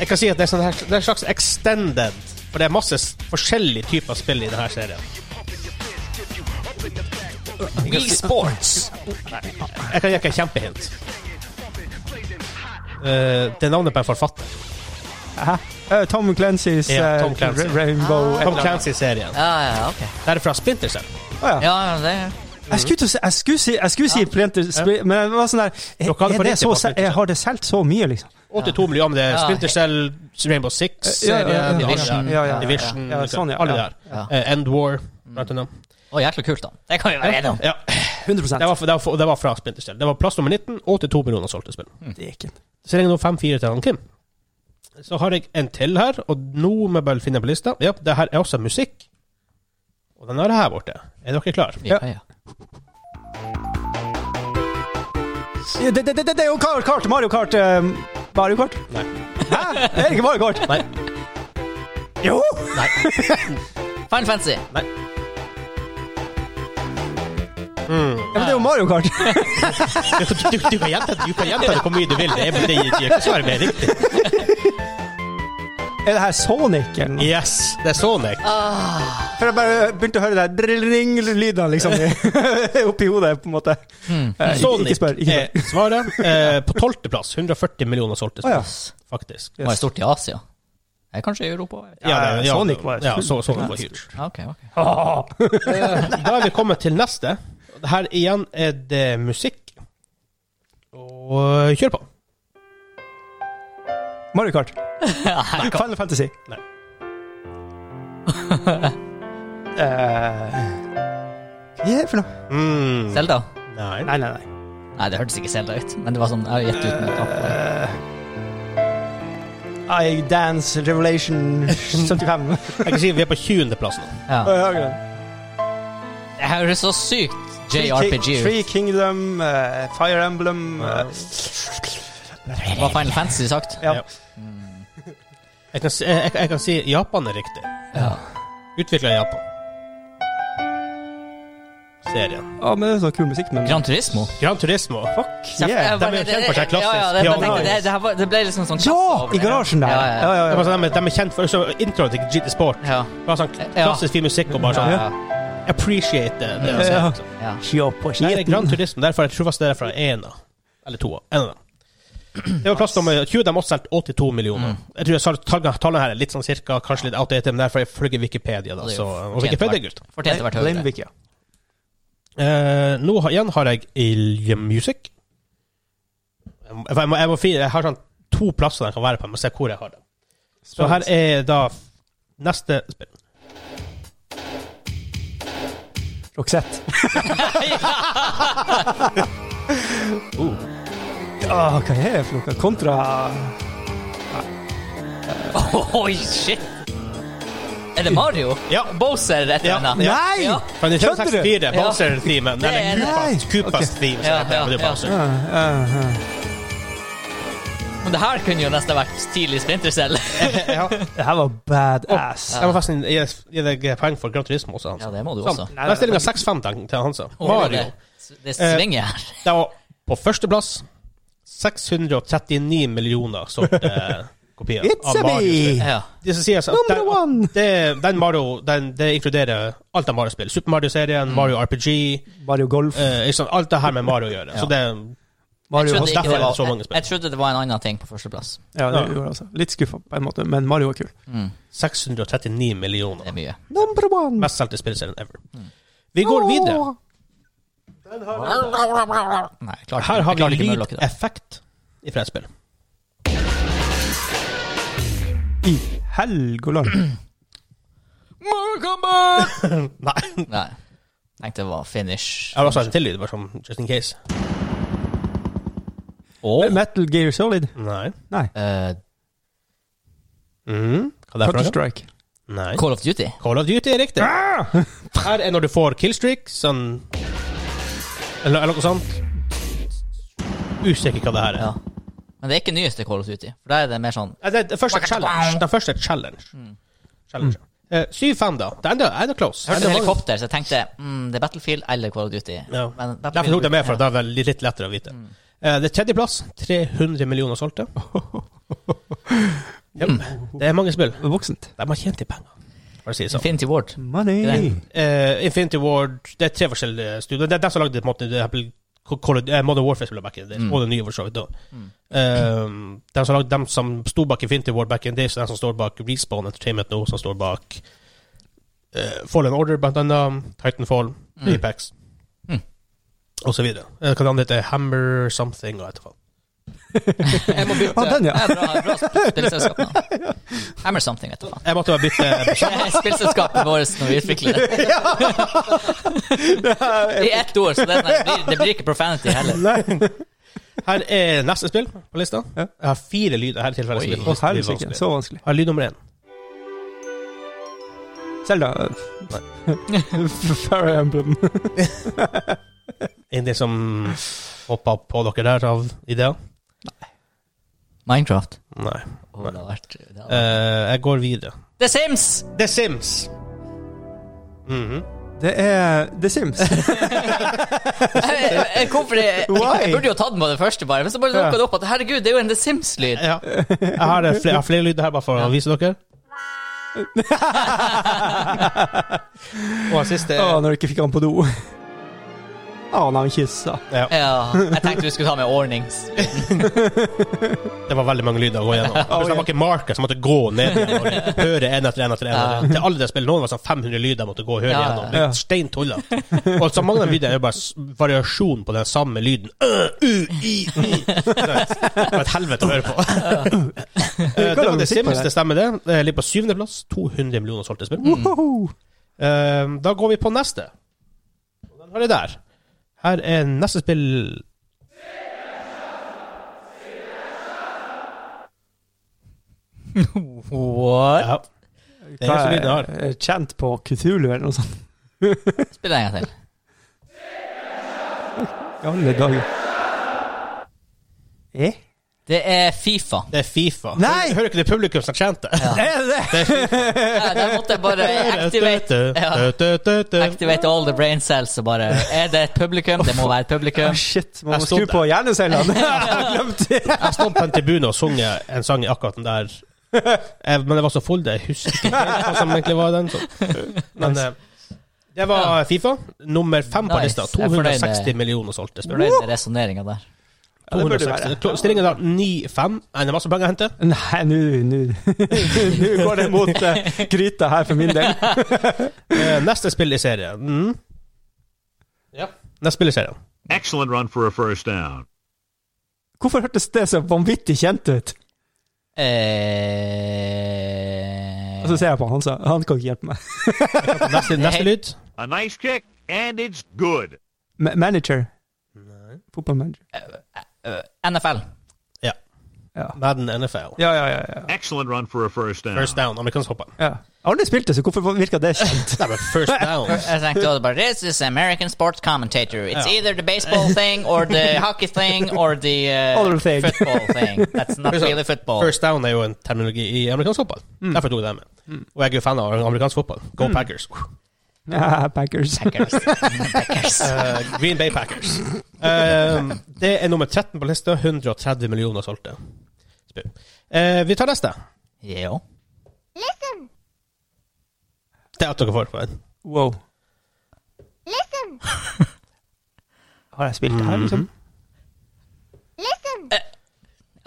Speaker 2: Jeg kan si at det er, sånn her, det er en slags extended, for det er masse s- forskjellige typer spill i denne serien.
Speaker 1: Wii Sports.
Speaker 2: Jeg kan gi dere et kjempehint. Eh, det er navnet på en forfatter.
Speaker 3: Hæ? Eh, Tom Clancy's
Speaker 2: Ja, Tom
Speaker 3: eh,
Speaker 2: Clancy.
Speaker 3: Ra- Rainbow et
Speaker 2: Tom
Speaker 3: eller annet.
Speaker 2: Clancy-serien.
Speaker 1: Ja, ja, ok.
Speaker 2: Det er fra Splinter Cell.
Speaker 3: Å, ja.
Speaker 1: Ja, ja, det er
Speaker 3: Jeg skulle til å si, jeg skulle si, jeg skulle si Printer Spri- men det var sånn der
Speaker 2: Dere hadde
Speaker 3: er,
Speaker 2: for
Speaker 3: er det
Speaker 2: riktig
Speaker 3: så,
Speaker 2: på
Speaker 3: se-
Speaker 2: Printer Spri-
Speaker 3: Har det solgt så mye, liksom?
Speaker 2: 82 millioner, men det er
Speaker 1: Ja.
Speaker 2: Splinter Cell, Rainbow Six-serien,
Speaker 3: Ja, ja, ja.
Speaker 2: de andre
Speaker 1: Division.
Speaker 2: der.
Speaker 3: Ja, ja, ja.
Speaker 2: Division,
Speaker 3: Ja, sånn, ja.
Speaker 2: alle
Speaker 3: Ja.
Speaker 2: der. Eh, End War, blant annet.
Speaker 1: Å, jækla kult, da. Det kan vi være enige om.
Speaker 2: Ja.
Speaker 3: 100
Speaker 2: Det var, det, var, det var fra Splinter Cell. Det var plass nummer 19, 82 millioner solgte spill.
Speaker 3: Det gikk ikke.
Speaker 2: Så lenge nå 5-4 til han Kim. Så har jeg en til her, og nå må jeg bare finne på lista. Ja, det her er også musikk. Og den har jeg her borte. Er dere klare?
Speaker 1: Ja, ja.
Speaker 3: Ja, Det, det, det, det er jo Kar- Kart, Mario Kart. eh, Mario Kart?
Speaker 2: Nei.
Speaker 3: Hæ? Det er ikke Mario Kart.
Speaker 2: Nei.
Speaker 3: Jo!
Speaker 1: Fine Fancy.
Speaker 3: Ja, men det er jo Mario Kart.
Speaker 2: Mm. Du, du, du kan gjenta du kan gjenta det hvor mye du vil. Det er det gir ikke svaret mer riktig.
Speaker 3: Er det her Sonic eller noe?
Speaker 2: Yes, det er Sonic.
Speaker 1: Ah,
Speaker 3: For jeg bare begynte å høre det der ring-lydene liksom i- oppi hodet, på en måte.
Speaker 1: hmm.
Speaker 3: Eh, ikke,
Speaker 2: Sonic
Speaker 3: ikke spør. Ikke spør.
Speaker 2: er svaret. Eh, på tolvteplass. 140 millioner solgte
Speaker 3: Å,
Speaker 2: spill,
Speaker 3: ja.
Speaker 2: faktisk.
Speaker 1: Var det stort i Asia? Nei, kanskje i Europa? eller?
Speaker 3: Ja,
Speaker 2: det-
Speaker 3: Sonic var-
Speaker 2: ja, så, Sonic var huge.
Speaker 1: Ja, ok, ok.
Speaker 2: Da er vi kommet til neste. Her igjen er det musikk. Og kjør på.
Speaker 3: Mario Kart.
Speaker 1: Ja, her kom-
Speaker 3: Final Fantasy.
Speaker 2: Nei.
Speaker 3: Eh, Hva er det for noe?
Speaker 2: Mm.
Speaker 1: Zelda?
Speaker 2: Nei.
Speaker 3: Nei, nei, nei.
Speaker 1: Nei, det hørtes ikke Zelda ut, men det var sånn Jeg har gitt ut noe kapp.
Speaker 3: Uh, I Dance Revelation 75.
Speaker 2: Jeg kan si vi er på 20.-plass nå.
Speaker 1: Ja.
Speaker 3: Ja, akkurat.
Speaker 1: Det høres så sykt
Speaker 3: Oh, Three Ki-
Speaker 1: JRPG ut.
Speaker 3: Three Kingdom, eh, Fire Emblem eh,
Speaker 1: Var Final Fantasy sagt?
Speaker 3: Ja.
Speaker 2: Ja. Jeg kan, si- jeg, jeg kan si Japan er riktig.
Speaker 1: Ja.
Speaker 2: Utvikla i Japan. Serien.
Speaker 3: Å, men det er så kul musikk, men
Speaker 1: Gran Turismo?
Speaker 2: Gran Turismo. Fuck.
Speaker 3: yeah.
Speaker 2: de er jo kjent for seg
Speaker 1: Ja,
Speaker 2: klassisk
Speaker 1: ja, det, jeg
Speaker 2: piano.
Speaker 1: tenkte, det, det, her var, det ble liksom sånn
Speaker 3: Ja! I garasjen der.
Speaker 1: Ja, ja, ja.
Speaker 2: De,
Speaker 3: Ja,
Speaker 2: er
Speaker 3: ja, ja.
Speaker 2: sånn- de er kjent for så introen til GT Sport.
Speaker 1: Ja.
Speaker 2: Bare sånn
Speaker 1: Ja.
Speaker 2: klassisk fin musikk og bare sånn
Speaker 1: Ja,
Speaker 2: Appreciate det. det er
Speaker 3: Ja.
Speaker 2: sånn.
Speaker 1: ja.
Speaker 3: Kjør på
Speaker 2: Nei, det er Gran
Speaker 3: skiten.
Speaker 2: Turismo. Derfor jeg tror faktisk det er fra én av Eller to av. En av dem. Det var plass nummer 20. De har solgt 82
Speaker 1: Mm.
Speaker 2: millioner. Jeg tror jeg sa tallene- Tallene her er litt sånn cirka, kanskje litt outdated, men derfor jeg følger Wikipedia. da
Speaker 1: Det er
Speaker 2: så,
Speaker 1: jo
Speaker 2: Og
Speaker 1: fortjent
Speaker 2: Wikipedia er
Speaker 1: verdt.
Speaker 2: gutt.
Speaker 1: Fortjente vært høyere.
Speaker 3: Blindvik, ja.
Speaker 2: Eh, nå har, igjen har jeg Ilja Music. Jeg må, jeg, må, jeg, må, fi- jeg har sånn to plasser jeg kan være på. Jeg må se hvor jeg har dem. Så her er da f- neste spill.
Speaker 3: Roxette.
Speaker 2: Oh.
Speaker 3: Åh, hva er det for noe? Kontra
Speaker 1: Oi, shit! Er det Mario?
Speaker 2: Ja.
Speaker 1: Bowser et eller
Speaker 2: Ja.
Speaker 1: annet?
Speaker 2: Ja.
Speaker 3: Nei!
Speaker 1: Ja.
Speaker 2: Fra
Speaker 3: Kødder du?
Speaker 2: 1964,
Speaker 1: Ja.
Speaker 2: Bowser-themen.
Speaker 1: Det er-
Speaker 2: Eller Koopas-
Speaker 3: Nei.
Speaker 2: Koopas
Speaker 1: Ja,
Speaker 2: theme. som heter,
Speaker 1: ja,
Speaker 2: men det er
Speaker 1: ja.
Speaker 2: Bowser.
Speaker 3: Ja, ja, ja.
Speaker 1: Men det her kunne jo nesten vært tidlig Splinter Cell.
Speaker 3: Det her var badass.
Speaker 2: Jeg må forresten gi gi deg poeng for Gran Turismo også, Hansa.
Speaker 1: Ja, det må du
Speaker 2: Sant.
Speaker 1: også.
Speaker 2: Da er stillinga 6-5 til til Hansa. Mario.
Speaker 1: Det, det svinger her.
Speaker 2: Det var på førsteplass. 639 millioner solgte eh, kopier
Speaker 3: It's a
Speaker 2: av Mario-spill.
Speaker 3: me!
Speaker 1: Ja.
Speaker 2: Det som sies at
Speaker 3: Number
Speaker 2: den-
Speaker 3: one!
Speaker 2: Det, den Mario, den, det inkluderer alt av Mario-spill.
Speaker 1: Mm.
Speaker 2: Super Mario-serien, Mario RPG
Speaker 3: Mario Golf.
Speaker 2: eh, ikke sant, Alt det her med Mario å gjøre. Så det
Speaker 3: Mario
Speaker 1: jeg,
Speaker 3: har
Speaker 1: trodde ikke
Speaker 2: derfor
Speaker 1: det
Speaker 2: er det
Speaker 1: var,
Speaker 2: så mange
Speaker 1: jeg,
Speaker 2: spill.
Speaker 1: jeg trodde det var en annen ting på førsteplass.
Speaker 3: ja, det
Speaker 2: Ja.
Speaker 3: gjorde jeg også. Litt skuffa på en måte, men Mario var kul.
Speaker 1: Mm,
Speaker 2: 639
Speaker 1: det er
Speaker 2: millioner.
Speaker 1: mye.
Speaker 3: Number one!
Speaker 2: Mest solgte spillserien ever.
Speaker 1: Mm.
Speaker 2: Vi går videre.
Speaker 1: Nei, jeg klarte,
Speaker 2: Her har
Speaker 1: jeg klarte
Speaker 2: vi
Speaker 1: ikke møllokket der.
Speaker 2: lydeffekt fra et spill.
Speaker 3: I Helgoland.
Speaker 2: Nei.
Speaker 1: Nei. Jeg tenkte det var finish.
Speaker 2: Jeg har også en til lyd, sånn bare som just in case. Oh.
Speaker 3: Metal Gear Solid.
Speaker 2: Nei.
Speaker 3: Nei.
Speaker 1: Eh,
Speaker 2: Mm. Hva er det for noe?
Speaker 3: Counter-Strike.
Speaker 2: Nei.
Speaker 1: Call Ah! of Duty.
Speaker 2: Call of Duty er riktig. Her er når du får killstreak, sånn Eller, eller noe sånt. Usikker hva det her er.
Speaker 1: Ja. Men det er ikke nyeste Call of Duty. For der er det mer sånn
Speaker 2: Nei, Det, det første er challenge. Den første er challenge. Challenge. Eh, 7-5, da. Det er enda, enda close.
Speaker 1: Jeg Mm. hørte
Speaker 2: Enda mange.
Speaker 1: helikopter, så jeg tenkte mm, det er Battlefield eller Call of Duty.
Speaker 2: Ja.
Speaker 1: Men
Speaker 2: Derfor tok jeg med, for det er vel litt lettere å vite. Eh, det er tredjeplass. 300 millioner solgte. Jep. Det er mange spill.
Speaker 3: Voksent.
Speaker 2: De har tjent i penger, for å si det sånn.
Speaker 1: Infinity Ward.
Speaker 3: Money.
Speaker 1: Greit.
Speaker 2: Eh, Infinity Ward Det er tre forskjellige studioer. Det er de som lagde på en måte, det her, Call of- eh, Modern Warfare spiller back in the days,
Speaker 1: Mm.
Speaker 2: og det nye for så vidt òg. de som, lagde, dem som sto bak Infinity Ward back in the days, er de som står bak Respawn Entertainment nå, som står bak eh, Fallen Order, blant annet, Titanfall,
Speaker 1: Mm.
Speaker 2: Apex,
Speaker 1: Mm.
Speaker 2: og så videre. Eh, Hva det andre heter Hammer something, og etterfall.
Speaker 1: Jeg må bytte.
Speaker 3: Ah, den, ja.
Speaker 1: Jeg er bra, bra sp- spillselskap nå. Hammer something, vet du faen.
Speaker 2: Jeg måtte bare bytte
Speaker 1: Spillselskapet vårt når vi utvikler det. I ett ord, så det, det, blir, det blir ikke profanity heller.
Speaker 2: Her er neste spill på lista.
Speaker 3: Ja.
Speaker 2: Jeg har fire lyder her. i
Speaker 1: Oi.
Speaker 2: tilfelle spillet
Speaker 3: Å,
Speaker 2: blir
Speaker 3: helsike.
Speaker 2: vanskelig.
Speaker 3: Så vanskelig.
Speaker 2: Jeg har lyd nummer én.
Speaker 3: Selda. Fairy Emblem.
Speaker 2: En del som hoppa på dere der av ideer?
Speaker 1: Minecraft.
Speaker 2: Nei.
Speaker 1: Å, det, har vært, det, har vært.
Speaker 2: Eh, jeg går videre.
Speaker 1: The Sims!
Speaker 2: The Sims. Mhm.
Speaker 3: Det er The Sims.
Speaker 1: Jeg, jeg, jeg, hvorfor jeg,
Speaker 3: Why?
Speaker 1: jeg burde jo tatt den på det første, bare. Men så bare dukka det opp at herregud, det er jo en The Sims-lyd.
Speaker 2: ja. Jeg har eh, flere, jeg har flere lyder her, bare for å vise dere. Og den siste
Speaker 3: Å, når du ikke fikk han på do. Å, når han kyssa.
Speaker 2: ja,
Speaker 1: Ja, jeg tenkte du skulle ta med ordnings.
Speaker 2: Det var veldig mange lyder å gå gjennom. Hvis det var ikke marker, så måtte jeg gå ned igjen og høre en etter en etter en. Til alle de spillene Noen var sånn 500 lyder jeg måtte gå og høre
Speaker 1: Ja, ja,
Speaker 2: gjennom.
Speaker 3: ja.
Speaker 2: Litt stein tullete. Og så mange av de lydene er jo bare s- variasjon på den samme lyden. Ø, u, i, i. Det var et helvete å høre på. Eh, Det var det Sims, det stemmer det. Eh, Ligger på syvendeplass. 200 millioner solgte spill.
Speaker 3: Mm. Woho!
Speaker 2: Eh, Da går vi på neste. Og Den har jeg der. Her er neste spill
Speaker 1: What?
Speaker 2: ja. Det er så lyden jeg har.
Speaker 3: Eh, Kjent på Cthulhu eller noe sånt.
Speaker 1: Spill en gang til.
Speaker 3: I alle dager. Eh?
Speaker 1: Det er Fifa.
Speaker 2: Det er Fifa.
Speaker 3: Nei!
Speaker 2: Hører ikke det publikum som chanter?
Speaker 3: Er det det?
Speaker 1: Ja, der måtte jeg bare activate, ja, activate all the brain cells og bare Er det et publikum? Det må være et
Speaker 3: Ah,
Speaker 1: publikum.
Speaker 3: shit, man
Speaker 2: Jeg
Speaker 3: må
Speaker 2: stod
Speaker 3: skru på hjernecellene.
Speaker 2: Jeg stod på en tribune og sang en sang i akkurat den der. Eh, Men det var så full, det jeg husker ikke helt hva som egentlig var den. Så. Men eh, det var Fifa. Nummer fem på
Speaker 1: Nice.
Speaker 2: lista.
Speaker 1: Jeg er fornøyd med-
Speaker 2: 260 millioner solgte.
Speaker 1: Fornøyd med resonneringa der.
Speaker 3: Ja, det burde det være.
Speaker 2: Stillingen er 9-5. Nei, Det er masse penger å hente.
Speaker 3: Nei, nå nå- Nå går det mot eh, gryta her for min del.
Speaker 2: Eh, Neste spill i serien. Mm. Neste spill i serien.
Speaker 4: Excellent run for a first down.
Speaker 3: Hvorfor hørtes det så vanvittig kjent ut?
Speaker 1: Eh,
Speaker 3: Og så ser jeg på han, så han kan ikke hjelpe meg.
Speaker 2: Neste, neste lyd.
Speaker 4: A nice kick, and it's good.
Speaker 3: Ma- Manager. Fotballmanager.
Speaker 1: NFL.
Speaker 2: Ja.
Speaker 3: Ja.
Speaker 2: Madden NFL.
Speaker 3: Ja, ja, ja. ja.
Speaker 4: Excellent run for a first down.
Speaker 2: First down. Amerikansk fotball.
Speaker 3: ja. Jeg har aldri spilt det, så hvorfor virka det kjent?
Speaker 2: Det er bare First down.
Speaker 1: Jeg tenkte også bare This is American sports commentator. It's either the baseball thing or the hockey thing or the uh,
Speaker 3: Other thing.
Speaker 1: football thing. That's not really football.
Speaker 2: First down er jo en terminologi i amerikansk fotball. Derfor tok jeg det med. Og jeg er jo fan av amerikansk fotball. Go Packers.
Speaker 3: Ja, Packers.
Speaker 1: Packers. Packers.
Speaker 2: Eh, Green Bay Packers. Eh, det er nummer 13 på lista. 130 millioner solgte. Spør. Eh, vi tar neste.
Speaker 1: Jo.
Speaker 2: Det er at dere får på den.
Speaker 3: Wow. Mhm. Har jeg spilt det her, liksom?
Speaker 1: Uh,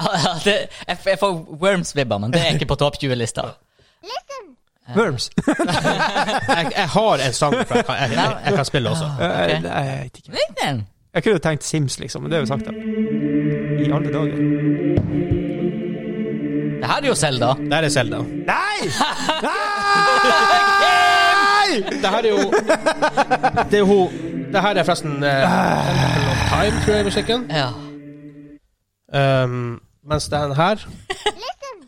Speaker 1: Ja, det, jeg, jeg får Worms-vibber, men det er ikke på topp 20-lista.
Speaker 3: Worms.
Speaker 2: Jeg, jeg har en sang fra jeg, kan- jeg, jeg, jeg kan spille også.
Speaker 3: Eh, Nei, jeg vet ikke. Jeg kunne jo tenkt Sims, liksom, men det er jo sagt, da. I alle dager.
Speaker 1: Det her er jo Selda.
Speaker 2: Der er Selda.
Speaker 3: Nei! Nei!
Speaker 2: Det her er jo Det er hun Det her er forresten eh, Temple of Time, tror jeg, musikken.
Speaker 1: Ja.
Speaker 2: Um, mens den her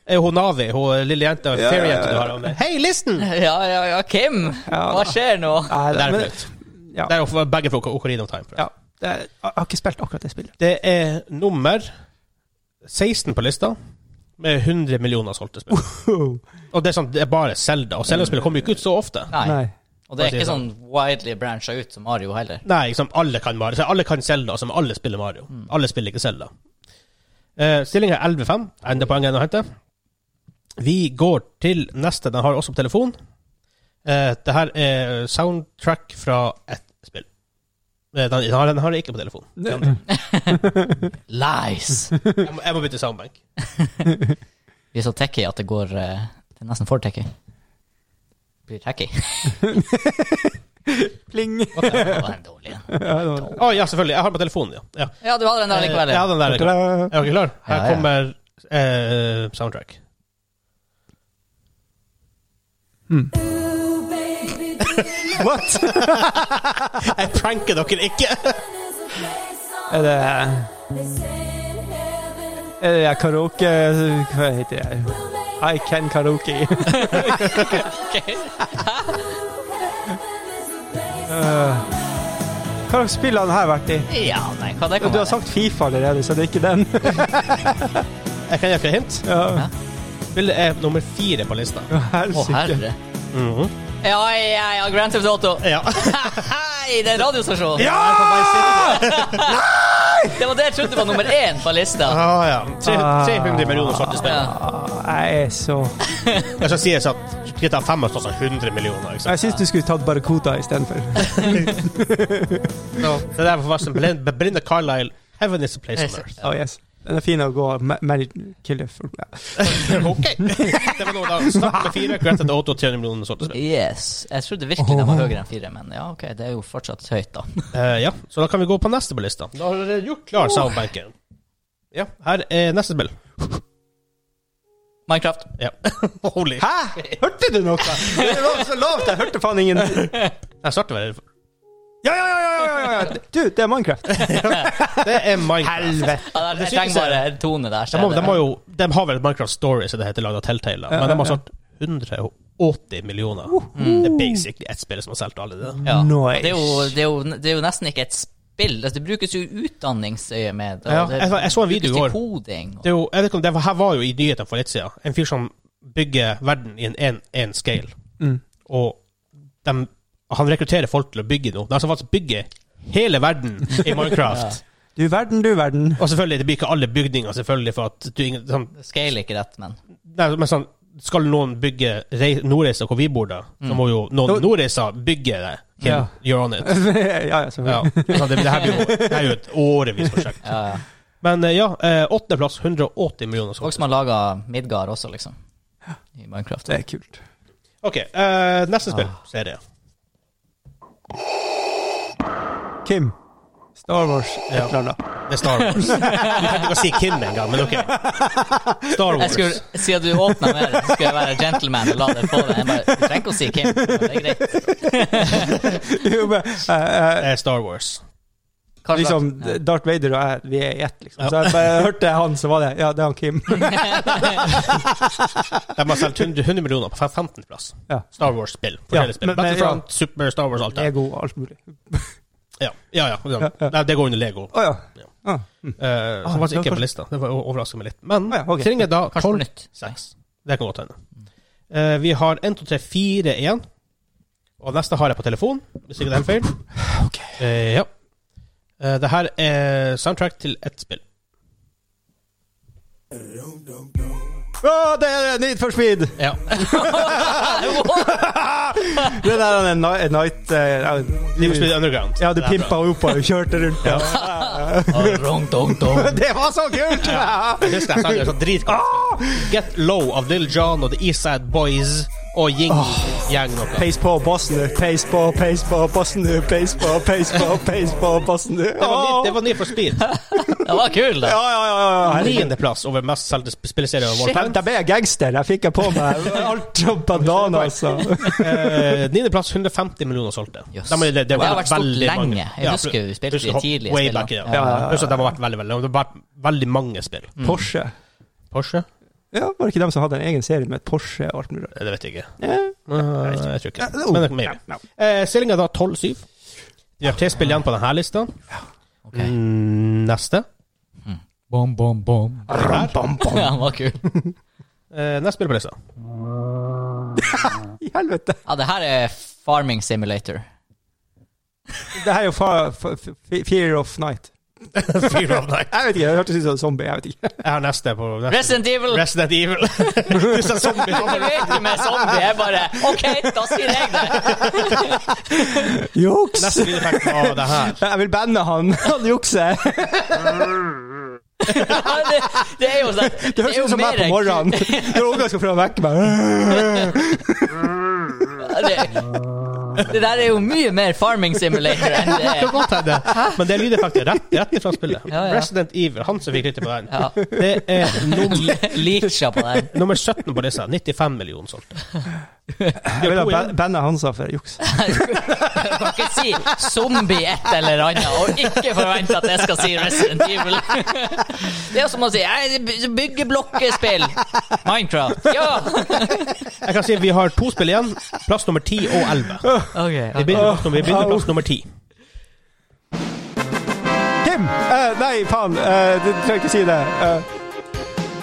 Speaker 2: er hun Navi, hun lille jenta,
Speaker 3: ja,
Speaker 2: fairy-jenta
Speaker 3: ja.
Speaker 2: du har med. Hei, listen!
Speaker 1: ja, ja, ja, Kim!
Speaker 3: Ja,
Speaker 1: Hva
Speaker 3: da.
Speaker 1: skjer nå?
Speaker 3: Nei,
Speaker 2: Der er
Speaker 3: men-
Speaker 2: flaut.
Speaker 3: Ja.
Speaker 2: Der er hun begge fra Ocarina of Time. forresten.
Speaker 3: ja. Det er, jeg har ikke spilt akkurat det spillet.
Speaker 2: Det er nummer 16 på lista, med 100 millioner solgte
Speaker 3: Uh.
Speaker 2: spill. Og det er, sånn, det er bare Selda, og
Speaker 3: Mm.
Speaker 2: Selda-spill kommer jo ikke ut så ofte.
Speaker 1: Nei.
Speaker 3: Nei.
Speaker 1: Og det er
Speaker 2: Hva sier
Speaker 1: ikke sånn widely brancha ut som Mario heller.
Speaker 2: Nei, liksom, alle kan Mario. Så alle kan Zelda, som alle spiller Mario. Alle spiller ikke Zelda. Uh, Stillinga er 11-5. Enda poeng igjen å hente. Vi går til neste. Den har også på telefon. Uh, det her er soundtrack fra ett spill. Eh, den, den, har, den har jeg ikke på telefon. Den andre.
Speaker 1: Lies!
Speaker 2: Jeg må, jeg må bytte soundbank.
Speaker 1: Vi er så tacky at det går eh, Det er nesten for tacky. Blir tacky.
Speaker 3: Pling.
Speaker 1: Å, det var en dårlig en.
Speaker 2: Å ja, selvfølgelig. Jeg har den på telefonen, ja. ja.
Speaker 1: Ja, du hadde den der likevel.
Speaker 2: Jeg
Speaker 1: ja.
Speaker 2: har den der. Er
Speaker 3: Ja.
Speaker 2: dere klar?
Speaker 1: Ja,
Speaker 2: Her
Speaker 1: ja.
Speaker 2: kommer eh, soundtrack.
Speaker 3: What?
Speaker 2: Jeg pranker dere ikke!
Speaker 3: Er det Er det der karaoke Hva heter det? I can karaoke. Øh, Hva slags spill har den her vært i?
Speaker 1: Ja, nei, hva det kan
Speaker 3: Du har
Speaker 1: være.
Speaker 3: sagt Fifa allerede, så det er ikke den.
Speaker 2: Jeg kan gi dere et hint.
Speaker 3: Ja,
Speaker 2: Spillet er nummer fire på lista.
Speaker 1: Å,
Speaker 2: Mm-hmm.
Speaker 3: Helsike.
Speaker 1: herre. Ja, ja, ja, Grand Theft Auto.
Speaker 2: Ja.
Speaker 1: Hei, det er radiostasjon! Det var det jeg trodde var nummer én på lista.
Speaker 2: Ah, ja. Tre- 300 millioner svarte spill.
Speaker 1: Ja.
Speaker 3: Ah, Jeg er så
Speaker 2: Jeg skal si det sånn, GTA 5 har stått sånn 100 millioner. Ikke sant?
Speaker 3: Jeg syns du skulle tatt Barracuda istedenfor.
Speaker 2: Det der var forresten Belinda, Belinda Carlisle, Heaven is a place on earth.
Speaker 3: Oh, yes. Den er fin å gå ma- married killer for. Ja.
Speaker 2: Ok! Det var noe da. Snakk med fire, Grand Auto, 300 millioner svarte spill.
Speaker 1: Yes. Jeg trodde virkelig den var høyere enn fire, men ja, ok, det er jo fortsatt høyt, da.
Speaker 2: Eh, ja, så da kan vi gå på neste på lista. Da har dere gjort klar
Speaker 3: Oh.
Speaker 2: soundbanken. Ja, her er neste spill.
Speaker 1: Minecraft.
Speaker 2: Ja. Holy.
Speaker 3: Hæ? Hørte du noe? Det var så lavt, jeg hørte faen ingen
Speaker 2: Jeg starter vel
Speaker 3: Ja, ja, ja, ja, ja, ja, ja. Du, det er Minecraft.
Speaker 2: Det er Minecraft.
Speaker 3: Helvete.
Speaker 1: Ja, der, jeg trenger bare en tone der. så
Speaker 2: De, må,
Speaker 1: er
Speaker 2: de,
Speaker 1: det-
Speaker 2: må jo, de har vel et Minecraft Story, som det heter, laget av Telltale. da. Men de har solgt 180 millioner. Det er basically ett spill som har solgt alle det.
Speaker 1: ja.
Speaker 3: Nice.
Speaker 1: Og det, er jo, det, er jo, det er jo nesten ikke et spill. Altså, det brukes jo i utdanningsøyemed. og
Speaker 2: Ja,
Speaker 1: det
Speaker 2: jeg- jeg så en video i
Speaker 1: brukes
Speaker 2: går.
Speaker 1: til koding. og-
Speaker 2: det er jo, jeg vet ikke om det var, Her var jo i nyhetene for litt siden en fyr som bygger verden i en en- en scale. Og dem- han rekrutterer folk til å bygge noe. De som faktisk bygger hele verden i Minecraft.
Speaker 3: Du verden, du verden.
Speaker 2: Og selvfølgelig, det blir ikke alle bygninger, selvfølgelig, for at du ingen- sånn,
Speaker 1: Scale ikke rett, men
Speaker 2: nei, men sånn, Skal noen bygge rei- Nordreisa, hvor vi bor, da, så må jo noen Nordreisa bygge det. Kim,
Speaker 3: Ja.
Speaker 2: You're on it.
Speaker 3: ja, ja,
Speaker 2: Ja,
Speaker 3: selvfølgelig.
Speaker 2: sånn, det, det, her blir jo, det her er jo et årevis prosjekt.
Speaker 1: ja, ja.
Speaker 2: Men eh, ja, eh, åttendeplass, 180 millioner.
Speaker 1: Folk som har laga Midgard også, liksom. I Minecraft.
Speaker 3: Det er kult.
Speaker 2: OK, eh, neste spill,
Speaker 3: Ah.
Speaker 2: serie.
Speaker 3: Kim. Star Wars. Et
Speaker 2: Ja.
Speaker 3: eller annet.
Speaker 2: Det er Star Wars. Du kan ikke si Kim engang, men OK. Star
Speaker 1: Jeg
Speaker 2: Wars.
Speaker 1: skulle, Siden du åpna med det, så skulle jeg være gentleman og la deg få det. Jeg bare, Du trenger ikke å si Kim. men Det er greit.
Speaker 3: Jo, men, eh, eh,
Speaker 2: Eh, Star Wars.
Speaker 1: Hva slags-
Speaker 3: liksom,
Speaker 1: Ja.
Speaker 3: Darth Vader og jeg, vi er i ett, liksom. Så jeg bare hørte han, så var det Ja, det er han Kim.
Speaker 2: De har solgt 100 100 millioner på 15.-plass.
Speaker 3: Ja.
Speaker 2: Star Wars-spill.
Speaker 3: Ja,
Speaker 2: Forskjellige spill.
Speaker 3: men- men-
Speaker 2: Battlefront, Super Star Wars, alt det.
Speaker 3: Lego og alt mulig.
Speaker 2: Ja, ja. ja, ja.
Speaker 3: Ja, ja.
Speaker 2: Nei, det går under Lego.
Speaker 3: Å ja. Ah.
Speaker 2: Eh,
Speaker 3: Ah,
Speaker 2: som faktisk
Speaker 3: det
Speaker 2: ikke
Speaker 3: var
Speaker 2: er på lista. Det var overraskende meg litt. Men
Speaker 3: Ah, ja, ok.
Speaker 2: trenger da
Speaker 1: Kanskje på
Speaker 2: 12
Speaker 1: nytt.
Speaker 2: Seks. Det kan godt hende. Eh, vi har 1, 2, 3, 4 igjen. Og neste har jeg på telefon, hvis ikke det er helt feil.
Speaker 3: Ok.
Speaker 2: Eh, ja. Eh, det her er soundtrack til ett spill.
Speaker 3: Å, det er Need for Speed!
Speaker 2: Ja.
Speaker 3: Det der han er ni- Night eh, ja,
Speaker 2: Liverpool Underground.
Speaker 3: Ja, du
Speaker 2: Det er bra.
Speaker 3: pimpa opp og kjørte rundt. Ja.
Speaker 1: Og rong, dong, dong.
Speaker 3: Det var så kult!
Speaker 2: Jeg husker jeg sang en sånn dritkult. Get Low av Lil John og The East Side Boys og Ying Yang noe.
Speaker 3: Peis på bossen, du. Peis på, peis på bossen, du. Peis på, peis på, peis på bossen, du.
Speaker 2: Det var, ny, det
Speaker 3: Åh!
Speaker 2: var ny for Speed.
Speaker 1: Det var kul, da.
Speaker 3: Ja, ja, ja, ja. Herregud.
Speaker 2: Niendeplass over mest solgte sp- spilleserie of all
Speaker 3: Der,
Speaker 2: time.
Speaker 3: der ble jeg gangster. Der fikk jeg på meg alt og bandana, altså.
Speaker 2: Eh, Niendeplass 150 millioner solgte.
Speaker 1: Yes.
Speaker 2: De er- det- det
Speaker 1: Og det har
Speaker 2: var
Speaker 1: vært stort
Speaker 2: veldig
Speaker 1: lenge.
Speaker 2: mange.
Speaker 1: Jeg
Speaker 2: Ja,
Speaker 1: husker vi spilte
Speaker 2: husker
Speaker 1: de
Speaker 2: hopp-
Speaker 1: tidlige
Speaker 2: way
Speaker 1: spillene.
Speaker 2: back i det.
Speaker 1: Ja,
Speaker 2: Ja,
Speaker 3: ja, ja.
Speaker 2: Husker at de har vært veldig, veldig lange. Det har vært veldig mange spill.
Speaker 3: Porsche.
Speaker 2: Porsche?
Speaker 3: Ja, Var det ikke dem som hadde en egen serie med Porsche og alt mulig rart?
Speaker 2: Det vet jeg ikke.
Speaker 3: Eh,
Speaker 2: Eh, Jeg tror ikke det. Men det
Speaker 3: ja,
Speaker 2: maybe.
Speaker 3: ja.
Speaker 2: Eh, Stillinga er da 12-7. Vi har tre spill igjen på denne lista.
Speaker 1: Ok.
Speaker 2: Mm, Neste.
Speaker 1: Bom, bom, bom.
Speaker 3: Ram, bam, bam.
Speaker 1: Ja, den var kul.
Speaker 2: Eh, Neste spill på lista.
Speaker 3: I helvete.
Speaker 1: Ja, det her er Farming Simulator.
Speaker 3: Det her er jo fa- fa- fe- Fear of Night.
Speaker 2: Fear of Night.
Speaker 3: Jeg vet ikke, det hørtes ut som en zombie. Jeg vet ikke.
Speaker 2: Jeg har neste på neste.
Speaker 1: Resident Evil!
Speaker 2: Resident Evil. du sa zombie.
Speaker 1: Jeg vet du med zombie? Jeg bare OK, da sier jeg det.
Speaker 3: Juks!
Speaker 2: Neste lydeffekt av det her.
Speaker 3: Jeg vil banne han. Han jukser.
Speaker 1: Det, det er jo sånn
Speaker 3: Det høres ut som meg på morgenen når ungene skal prøve å vekke meg.
Speaker 1: Det, det der er jo mye mer Farming Simulator enn det
Speaker 2: Det kan godt hende. Men det er lydeffekter rett, rett fra spillet.
Speaker 1: Ja, ja.
Speaker 2: Resident Evil. Han som fikk riktig på den.
Speaker 1: Ja.
Speaker 2: Det er num
Speaker 1: Leacha på den.
Speaker 2: nummer 17 på disse. 95 millioner solgte.
Speaker 3: Jeg vil ha ban- banne han sa for juks.
Speaker 1: Du kan ikke si zombie et eller annet og ikke forvente at jeg skal si Resident Evil. Det er som å si «Nei, by- byggeblokkespill. Minecraft. Ja!
Speaker 2: Jeg kan si vi har to spill igjen. Plass nummer 10 og 11. Vi
Speaker 1: Ok.
Speaker 2: begynner, vi begynner plass nummer 10.
Speaker 3: Kim! Eh, nei, faen. Eh, du trenger ikke si det. Eh,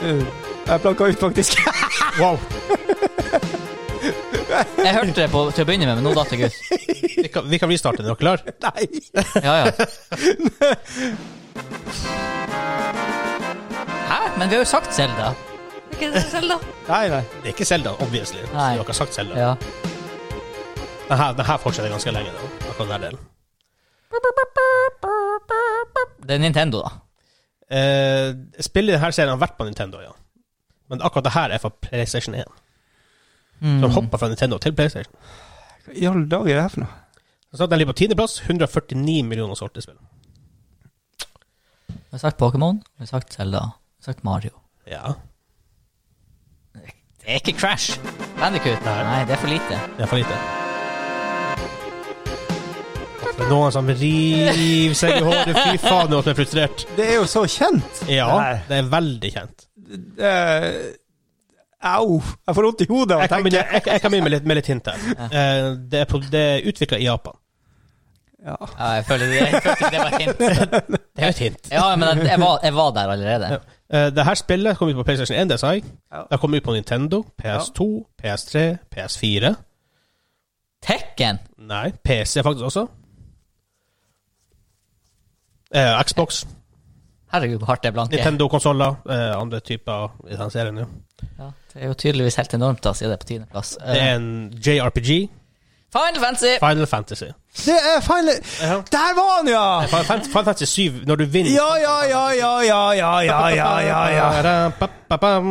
Speaker 3: eh, jeg planka ut, faktisk.
Speaker 2: Wow.
Speaker 1: Jeg hørte det på, til å begynne med, men nå datt jeg ut.
Speaker 2: Vi kan, vi kan restarte. Er dere klar?
Speaker 3: nei.
Speaker 1: Ja, ja. Hæ? Men vi har jo sagt Zelda. Ikke det Zelda?
Speaker 3: nei, nei.
Speaker 2: Det er ikke Zelda, obviously. Siden
Speaker 1: Nei.
Speaker 2: Dere har sagt Zelda.
Speaker 1: Ja.
Speaker 2: Den her, den her fortsetter ganske lenge. Da. Akkurat den delen.
Speaker 1: Det er Nintendo, da.
Speaker 2: Eh, spill i denne serien har vært på Nintendo, ja. Men akkurat det her er fra PlayStation 1.
Speaker 1: Mm.
Speaker 2: Så de hoppa fra Nintendo til PlayStation.
Speaker 3: Hva i alle dager er det her for noe?
Speaker 2: Så satt den ligger på tiendeplass. 149 millioner solgte spill.
Speaker 1: Vi har sagt Pokémon, vi har sagt Zelda, vi har sagt Mario.
Speaker 2: Ja.
Speaker 1: Det er ikke Crash. Bandicoot.
Speaker 2: Nei.
Speaker 1: Nei, det er for lite.
Speaker 2: Det er for lite. Det er noen som river seg i håret. Fy faen, nå er jeg frustrert.
Speaker 3: Det er jo så kjent.
Speaker 2: Ja,
Speaker 3: Nei.
Speaker 2: det er veldig kjent.
Speaker 3: Eh, au. Jeg får vondt i hodet av å
Speaker 2: Jeg kan
Speaker 3: tenke.
Speaker 2: begynne, jeg, jeg kan begynne med, litt, med litt hint her. Eh, det er, pro- det er utvikla i Japan.
Speaker 3: Ja.
Speaker 1: Ja, jeg føler det, jeg følte ikke det var et hint.
Speaker 2: Det er jo et hint.
Speaker 1: Ja, men jeg, jeg, var, jeg var der allerede.
Speaker 2: Eh, det her spillet kom ut på PlayStation 1, det sa jeg.
Speaker 3: Ja.
Speaker 2: Det kom ut på Nintendo, PS2, PS3, PS4.
Speaker 1: Tekken?
Speaker 2: Nei, PC faktisk også. Eh, Xbox,
Speaker 1: Herregud, hvor hardt det er blanke.
Speaker 2: Nintendo-konsoller, eh, andre typer i den serien. Ja.
Speaker 1: Ja, det er jo tydeligvis helt enormt, da, siden det er på tiendeplass.
Speaker 2: Det
Speaker 1: Eh,
Speaker 2: er en JRPG,
Speaker 1: Final Fantasy!
Speaker 2: Final Fantasy.
Speaker 3: Det er feil Der var han, ja!
Speaker 2: Final Fan- Final Fantasy 7, når du vinner
Speaker 3: Ja, ja, ja, ja, ja, ja, ja, ja, ja, ja.
Speaker 2: Ba-ba-bam.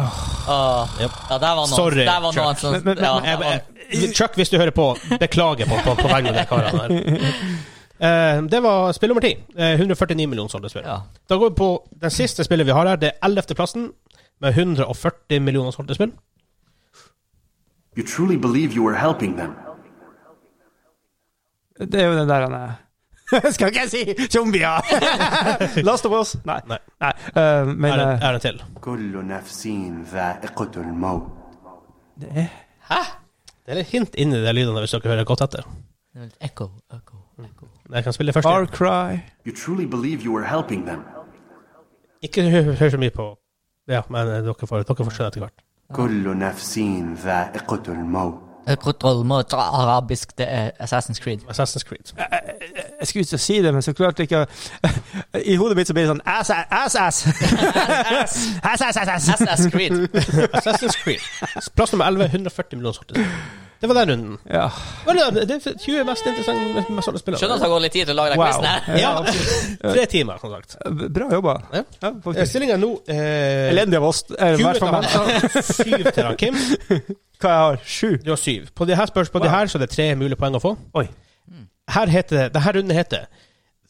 Speaker 1: Åh, ja, der var noen,
Speaker 2: Sorry,
Speaker 1: der var noen
Speaker 2: Chuck.
Speaker 1: som
Speaker 3: Men- men-
Speaker 1: ja,
Speaker 3: men-
Speaker 1: der var,
Speaker 2: Eh, Chuck, hvis du hører på, beklager på, på, på vegne av de karene her. Eh, det var spill nummer ti. Eh, 149 millioner solgte spill.
Speaker 1: Ja.
Speaker 2: Da går vi på den siste spillet vi har her. Det er 11. plassen med 140 millioner solgte spill.
Speaker 5: You truly believe you were helping them.
Speaker 3: Det er jo den der han er Skal ikke jeg si zombier! Last of Us? Nei.
Speaker 2: Nei.
Speaker 3: Nei. eh, men
Speaker 2: Er det,
Speaker 3: eh,
Speaker 2: er det til?
Speaker 5: كل نفس ذائقة الموت.
Speaker 2: Det er litt hint inni de lydene hvis dere hører godt etter.
Speaker 1: det var litt Echo, echo, echo.
Speaker 2: Jeg kan spille først.
Speaker 3: Far Cry
Speaker 5: You truly believe you were helping them.
Speaker 2: Ikke hør, hør så mye på Ja, men eh, dere får, dere får skjønne etter hvert.
Speaker 5: كل نفس ذائقة الموت.
Speaker 1: Eh, Kontroll mot arabisk, det er Assassin's Creed.
Speaker 2: Assassin's Creed.
Speaker 3: Jeg skulle ikke si det, men så klart ikke I hodet mitt så blir det sånn ass, ass, ass. ass, ass, ass, ass.
Speaker 1: Assassin's Creed.
Speaker 2: Assassin's Creed. Plass nummer 11, 140 millioner solgte spill. Det var den runden.
Speaker 3: Ja.
Speaker 2: Var det- Det er 20 mest interessante med sånne spillere.
Speaker 1: Skjønner at det har gått litt tid til å lage den quizen her.
Speaker 2: Ja, Tre timer, som sagt.
Speaker 3: Bra jobba.
Speaker 2: Ja.
Speaker 3: Ja, faktisk.
Speaker 2: Stillinga nå eh,
Speaker 3: Elendig av oss. eh, i
Speaker 2: 20
Speaker 3: hvert
Speaker 2: til
Speaker 3: fall
Speaker 2: han,
Speaker 3: meg.
Speaker 2: syv til han, Kim.
Speaker 3: Hva jeg har Sju?
Speaker 2: Du har syv. På de her spørsmål, de her, så er det tre mulige poeng å få.
Speaker 3: Oi.
Speaker 2: Her heter det, det her runden heter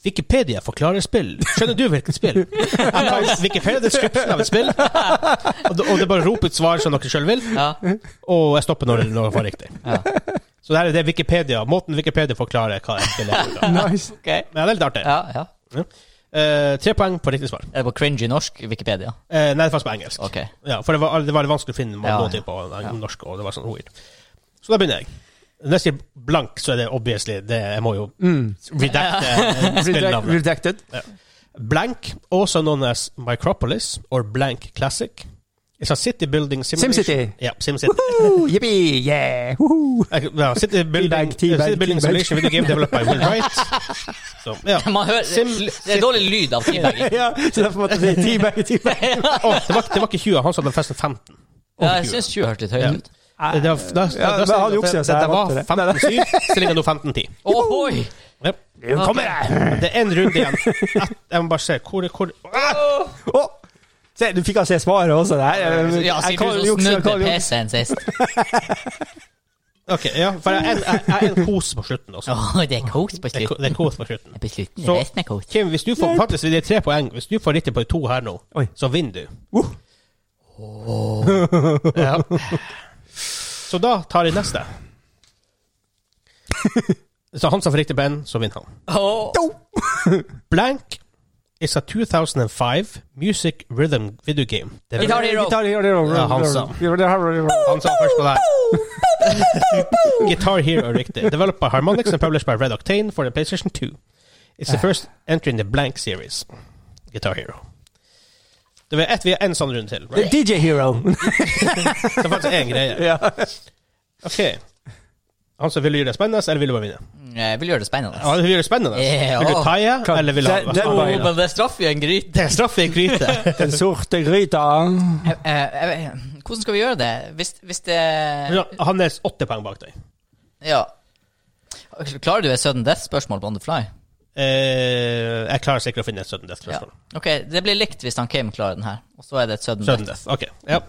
Speaker 2: Wikipedia forklarer spill. Skjønner du hvilket spill? Jeg tar Wikipedia description av et spill, og det, og det er bare å rope ut svar som dere sjøl vil,
Speaker 1: Ja.
Speaker 2: og jeg stopper når noe var riktig. Så det her er det Wikipedia, måten Wikipedia forklarer hva et spill er. Men
Speaker 3: Nice.
Speaker 1: Ok.
Speaker 2: det er litt artig.
Speaker 1: Ja, ja.
Speaker 2: Eh, tre poeng på riktig svar.
Speaker 1: Er det på cringy norsk Wikipedia?
Speaker 2: Eh, nei, det var på engelsk.
Speaker 1: Ok.
Speaker 2: Ja, for det var, det var litt vanskelig å finne
Speaker 1: Ja,
Speaker 2: noe
Speaker 1: ja.
Speaker 2: på eh, norsk, og det var sånn weird. Så da begynner jeg. Når jeg sier blank, så er det obviously det, Jeg må jo
Speaker 3: Mm.
Speaker 2: redacte eh, spillnavnet.
Speaker 3: Redacted.
Speaker 2: Blank, also known as Micropolis or Blank Classic, is a city building simulation.
Speaker 3: SimCity.
Speaker 2: Yeah, SimCity.
Speaker 3: Woo, yippee, yeah. Woohoo.
Speaker 2: Uh, well, city building,
Speaker 3: Teabag, teabag,
Speaker 2: uh, city building
Speaker 3: teabag.
Speaker 2: simulation video game developed by Will Wright. so, yeah.
Speaker 1: Man hører,
Speaker 2: Sim,
Speaker 1: det er dårlig lyd av teabagging.
Speaker 3: Ja, så derfor måtte jeg si teabag, teabag.
Speaker 2: Åh, det, var, det var ikke 20, han sa det var forresten 15.
Speaker 1: Ja, jeg syns 20 hørtes litt høyt ut.
Speaker 2: Det, var- da, da,
Speaker 3: Ja, men
Speaker 2: da-
Speaker 3: han jukser,
Speaker 2: det,
Speaker 3: så
Speaker 2: det,
Speaker 3: jeg
Speaker 2: var
Speaker 3: måtte det.
Speaker 2: 15-7, stillingen nå 15-10.
Speaker 1: Ohoi!
Speaker 2: Yep.
Speaker 3: Nå kommer jeg!
Speaker 2: Det er én runde igjen. Et- Jeg må bare se hvor, hvor
Speaker 3: Å! Se, du fikk altså se svaret også. Det her. Jeg-
Speaker 1: Ja,
Speaker 3: jeg
Speaker 1: sier du
Speaker 3: kan
Speaker 1: som
Speaker 3: jukse, jeg
Speaker 1: snudde
Speaker 3: kan jukse.
Speaker 1: PC-en sist.
Speaker 2: Ok, ja, for jeg jeg- jeg er en kos på slutten også.
Speaker 1: Åh, det er kos på
Speaker 2: Det er ko-
Speaker 1: slutten.
Speaker 2: det er kos på slutten.
Speaker 1: På slutten
Speaker 2: Så-
Speaker 1: er resten er kos.
Speaker 2: Kim, hvis du får faktisk det er tre poeng Hvis du får riktig på de to her nå,
Speaker 3: Oi.
Speaker 2: så vinner du.
Speaker 3: Uh.
Speaker 2: ja. Så da tar jeg neste. Så han som får riktig på en, så vinner han.
Speaker 1: Åh.
Speaker 2: Blank is a 2005 music rhythm video game. Det
Speaker 1: Guitar Hero.
Speaker 3: Guitar Hero.
Speaker 2: Ja, han sa. Han sa først på det her. Guitar Hero er riktig. Developed by Harmonix and published by Red Octane for the PlayStation 2. It's the first entry in the blank series. Guitar Hero. Det var ett, vi har en sånn runde til. Right?
Speaker 3: DJ Hero.
Speaker 2: Det er faktisk én greie.
Speaker 3: ja.
Speaker 2: Ok. Han som ville gjøre det spennende, eller ville du bare vinne?
Speaker 1: Jeg vil gjøre det spennende.
Speaker 2: Ja, du vil gjøre det spennende.
Speaker 1: Mm. Ja.
Speaker 2: Vil du taie, eller vil du
Speaker 3: Det- det-
Speaker 2: ha
Speaker 1: Åh, men det straffer jo en gryte.
Speaker 2: Det er straff i gryte.
Speaker 3: Den sorte gryta.
Speaker 1: Eh, eh, eh, Hvordan skal vi gjøre det? Hvis, hvis det
Speaker 2: Ja, Han er åtte poeng bak deg.
Speaker 1: Ja. Klarer du et sudden death-spørsmål på on the fly?
Speaker 2: Eh, jeg klarer sikkert å finne et sudden death.
Speaker 1: Ja.
Speaker 2: spørsmål.
Speaker 1: Ok, det blir likt hvis han Kim klarer den her. Og så er det et sudden
Speaker 2: Sudden
Speaker 1: death.
Speaker 2: death. Ok, ja.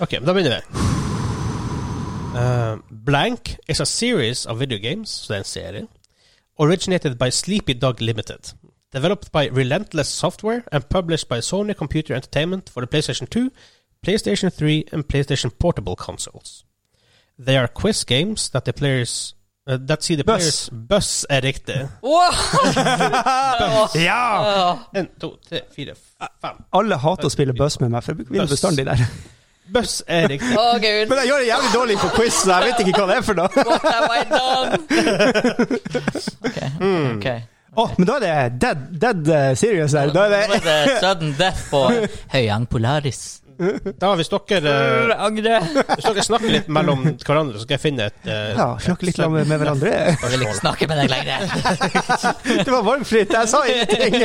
Speaker 2: Ok, men da begynner vi. Uh, Blank is a series of video games, så det er en serie, originated by Sleepy Dog Limited, developed by Relentless Software and published by Sony Computer Entertainment for the PlayStation 2, PlayStation 3 and PlayStation Portable consoles. They are quiz games that the players uh, that see the
Speaker 3: Buss.
Speaker 2: players Buss er riktig.
Speaker 1: Wow!
Speaker 3: Ja!
Speaker 2: En, to, tre, fire, f- fem.
Speaker 3: Alle hater å spille buss med meg, for jeg vinner
Speaker 2: Buss.
Speaker 3: bestandig der.
Speaker 2: Buss er riktig.
Speaker 1: Å, gud.
Speaker 3: Men jeg gjør det jævlig dårlig på quiz, så jeg vet ikke hva det er for noe.
Speaker 1: What have I done? Ok, ok.
Speaker 3: Å, men da er det dead, dead eh, serious der. Da
Speaker 1: Nå
Speaker 3: er
Speaker 1: er
Speaker 3: det
Speaker 1: det sudden death på Høyang Polaris.
Speaker 2: Da, hvis dere eh,
Speaker 1: Angre.
Speaker 2: Hvis dere snakker litt mellom hverandre, så skal jeg finne et eh,
Speaker 3: Ja, snakke litt med, med hverandre.
Speaker 1: Jeg vil ikke snakke med deg lenger.
Speaker 3: Det var varmfritt, jeg sa ingenting!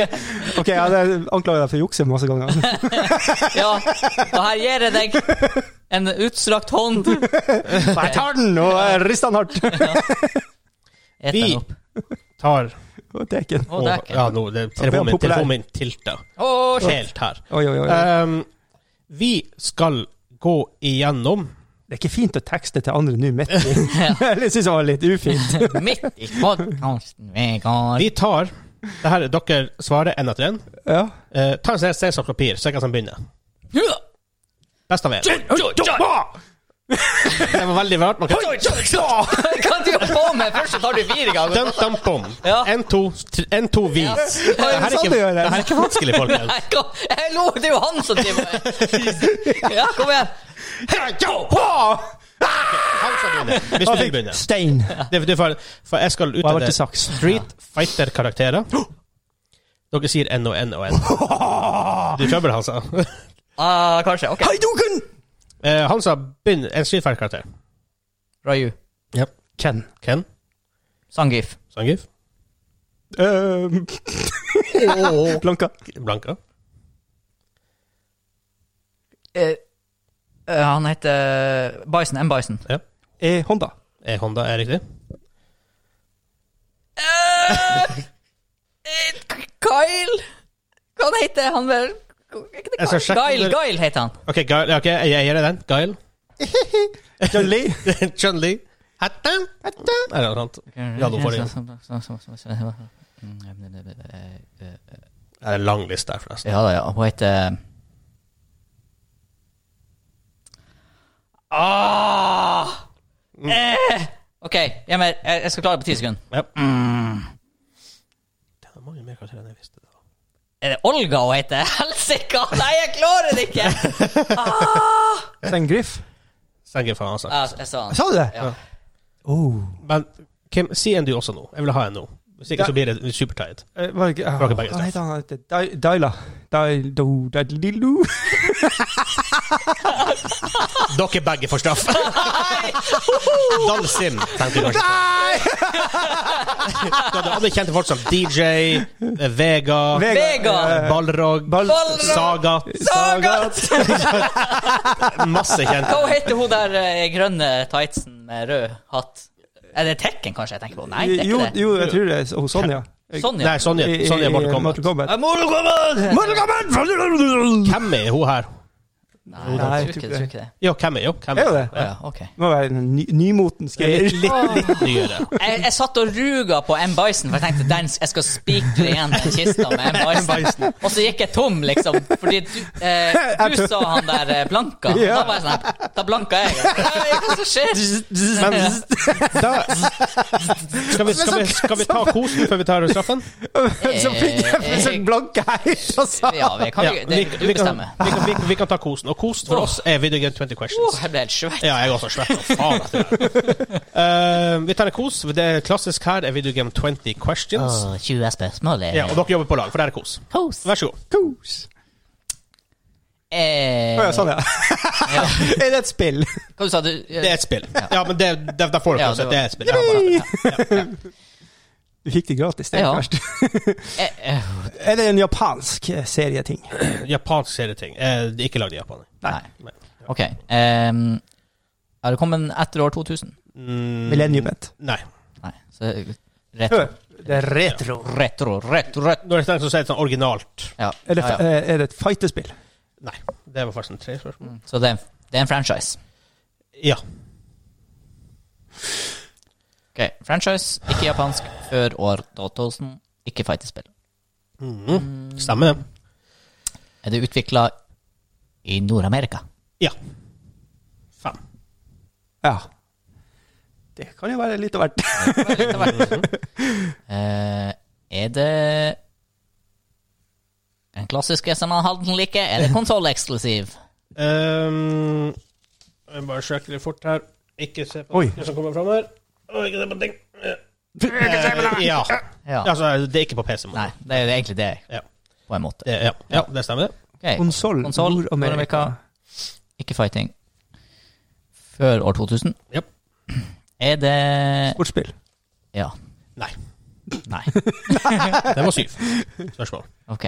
Speaker 3: Ok, jeg hadde anklaget deg for å jukse masse ganger.
Speaker 1: Ja, og her gir jeg deg en utstrakt hånd.
Speaker 3: Så jeg tar den og eh, rister den hardt.
Speaker 1: Et
Speaker 2: Vi-
Speaker 1: den opp.
Speaker 2: tar
Speaker 3: Og det er ikke den.
Speaker 1: Å, det er ikke
Speaker 2: Ja, nå, det,
Speaker 3: Ja,
Speaker 2: telefonen, min,
Speaker 3: populær.
Speaker 2: telefonen min tilta
Speaker 1: Å, shit.
Speaker 2: helt her.
Speaker 3: Oi, oi, oi.
Speaker 2: Um, vi skal gå igjennom
Speaker 3: Det er ikke fint å tekste til andre nå midt i. Jeg syns det var litt ufint.
Speaker 1: Midt i podkasten, Vegard.
Speaker 2: Vi tar det her, Dere svarer én etter én.
Speaker 3: Ja.
Speaker 2: Eh, ta en stein, saks, papir, så jeg kan begynne. Best av én. Det var veldig rart. Man kan
Speaker 1: Hva du gjør på med? Først så tar du fire ganger.
Speaker 2: Dum, dum, bom.
Speaker 1: Ja.
Speaker 2: En, to, tre- en, to, vis. Det her er ikke,
Speaker 3: sånn du gjør det?
Speaker 2: det her er ikke vanskelig, folkens.
Speaker 1: Nei, kom- Jeg lo, det er jo han som driver med Ja, kom igjen.
Speaker 2: Han skal begynne. Hvis du vil begynne.
Speaker 3: Stein.
Speaker 2: Det, det er for, for jeg skal
Speaker 3: Og jeg ble
Speaker 2: utrede
Speaker 3: til saks.
Speaker 2: Street Fighter-karakterer. Dere sier N og N og N. Du er i trøbbel, Hansa.
Speaker 1: Ah, kanskje. Ok.
Speaker 3: Haidoken!
Speaker 2: Eh, Hansa, begynn en Street Fighter-karakter.
Speaker 1: Raju.
Speaker 3: Ken.
Speaker 2: Ken
Speaker 1: Sangif.
Speaker 2: Sangif.
Speaker 3: Øhm. Blanka.
Speaker 2: Blanka.
Speaker 1: Eh, eh, han heter Bison. M. Bison.
Speaker 2: Ja.
Speaker 3: er Honda.
Speaker 2: Er Honda er riktig?
Speaker 1: Eh, Kyle Hva han heter han vel? Er ikke det
Speaker 2: Jeg skal
Speaker 1: Kyle?
Speaker 2: sjekke om
Speaker 1: Guile,
Speaker 2: det-
Speaker 1: Guile heter han.
Speaker 2: OK, Guile, ok, jeg jeg gir deg den. Guile.
Speaker 3: John Lee.
Speaker 2: Chun-Li. Hatta. Hatta. Er det noe sånt? Ja, nå får de
Speaker 1: sånn,
Speaker 2: Det er en lang liste her, forresten.
Speaker 1: Ja da, ja. Hun heter ah! eh! OK, jeg, mer, jeg jeg skal klare det på ti sekunder.
Speaker 2: Ja. Det er mange mer karakterer enn jeg visste. da.
Speaker 1: Er det Olga hun heter? Helsike! Nei, jeg klarer det ikke!
Speaker 3: Stein Griff.
Speaker 2: Stenger faen, altså.
Speaker 1: Ja, jeg sa han.
Speaker 3: Sa du det?
Speaker 1: Ja.
Speaker 3: Oh.
Speaker 2: Men Kim, si en du også nå. Jeg vil ha en nå. Hvis ikke så blir det supertight.
Speaker 3: Eh, Var det ikke
Speaker 2: Rocket Bag is
Speaker 3: Hva
Speaker 2: tough.
Speaker 3: heter han? Dai- Daila. Dai- Do- Dai- Lilu.
Speaker 2: Dere begge får straff. Dalsim, tenkte jeg kanskje. Du hadde alle kjente folk som DJ, eh, Vega,
Speaker 3: Vega.
Speaker 1: Vega.
Speaker 3: Eh,
Speaker 2: Balrog,
Speaker 3: Bal-
Speaker 1: Balrog.
Speaker 2: Saga
Speaker 1: Sagat!
Speaker 2: Masse
Speaker 1: Hva
Speaker 2: kjente.
Speaker 1: heter hun der eh, grønne tightsen med rød hatt? Er det Tekken, kanskje, jeg tenker på? Nei, det er
Speaker 3: jo,
Speaker 1: ikke det.
Speaker 3: jo, jeg tror det er oh, Sonja.
Speaker 1: Sonja. Eh,
Speaker 2: Nei, Sonja.
Speaker 3: I- i-
Speaker 2: Sonja
Speaker 3: i
Speaker 2: Mortal Kombat.
Speaker 3: Mortal Kombat.
Speaker 1: Mortal Kombat!
Speaker 3: Mortal Kombat!
Speaker 2: Hvem er hun her?
Speaker 1: Nei,
Speaker 3: Nei,
Speaker 1: jeg tror ikke det. jeg Tror ikke det.
Speaker 2: Jo, hvem er jo, hvem
Speaker 3: Er jo det?
Speaker 1: Å ja, ok.
Speaker 3: Det Må være en ny, nymotens greier.
Speaker 2: Litt, litt, litt nyere.
Speaker 1: Jeg, jeg satt og ruga på M. Bison, for jeg tenkte den, jeg skal spikre igjen den kista med M. Bison. Og så gikk jeg tom, liksom, fordi du, eh, du sa han der eh, blanka. Og
Speaker 3: Ja.
Speaker 1: Da var jeg sånn her, Da blanka jeg. Nei, Hva som skjer?
Speaker 2: Men da Skal vi, skal vi, skal vi ta kosen før vi tar straffen?
Speaker 3: Så fikk jeg en blanke her. og sa-
Speaker 1: Eh, Ja, vi kan ikke det, Du bestemmer.
Speaker 2: Vi kan, vi, kan, vi kan ta kosen. Og kosen for oss er Video Game 20 Questions.
Speaker 1: Åh, jeg ble helt svett.
Speaker 2: Ja, jeg er også svett som faen etter det. her. Eh, vi tar en kos. Det er klassisk her er Video Game 20 Questions.
Speaker 1: 20 spørsmål eh,
Speaker 2: Ja, og dere jobber på lag, for det er kos.
Speaker 1: Kos.
Speaker 2: Vær så god.
Speaker 3: Kos.
Speaker 1: Eh,
Speaker 3: Å ja, sånn, ja.
Speaker 1: ja.
Speaker 3: Er det et spill?
Speaker 1: Hva du sa du?
Speaker 2: Det er et spill. Ja, men det, det, der får dere
Speaker 1: Ja, det
Speaker 2: også at
Speaker 1: var-
Speaker 2: det er et spill. Ja, bare,
Speaker 3: Du fikk det gratis. Det er
Speaker 1: Ja.
Speaker 3: verst.
Speaker 1: Eh, eh,
Speaker 3: Er det en japansk serieting?
Speaker 2: japansk serieting. Eh, det er ikke lagd i Japan.
Speaker 1: nei.
Speaker 2: Nei.
Speaker 1: Ok. ehm, er det kommet etter år 2000?
Speaker 2: Mm,
Speaker 3: Millenniumet.
Speaker 2: Nei.
Speaker 1: Nei. Så retro.
Speaker 3: Det er retro.
Speaker 1: Retro, retro, retro.
Speaker 2: Når jeg tenker så sier jeg sånn originalt
Speaker 1: Ja.
Speaker 3: Er det,
Speaker 1: ja, ja.
Speaker 3: eh, er det et fightespill?
Speaker 2: Nei. Det var faktisk en tre spørsmål.
Speaker 1: Så det er, det er en franchise.
Speaker 2: Ja.
Speaker 1: Ok, Franchise, ikke japansk, før år 2000. Ikke fightespill.
Speaker 2: Stemmer det.
Speaker 1: Er det utvikla i Nord-Amerika?
Speaker 2: Ja. Fem.
Speaker 3: Ja. Det kan jo være litt av hvert.
Speaker 1: Eh, er det en klassisk SMA Halden liker? Er det konsolleksklusiv?
Speaker 2: Ehm, jeg bare sjekker litt fort her. Ikke se på
Speaker 3: Oi.
Speaker 2: det som kommer fram her. Oi, ikke se på ting. Eh, ja.
Speaker 1: Ja.
Speaker 2: Altså, det er ikke på PC. -måten.
Speaker 1: Nei, det er egentlig det,
Speaker 2: Ja.
Speaker 1: på en måte.
Speaker 2: Det, ja. ja, det stemmer, det.
Speaker 1: Ok,
Speaker 3: Konsoll,
Speaker 1: Konsol,
Speaker 3: Nord-Amerika.
Speaker 1: Nord-Amerika. Ikke fighting. Før år 2000.
Speaker 2: Japp.
Speaker 1: Er det
Speaker 3: Sportsspill.
Speaker 1: Ja.
Speaker 2: Nei.
Speaker 1: Nei.
Speaker 2: Den var syv. Spørsmål.
Speaker 1: Ok.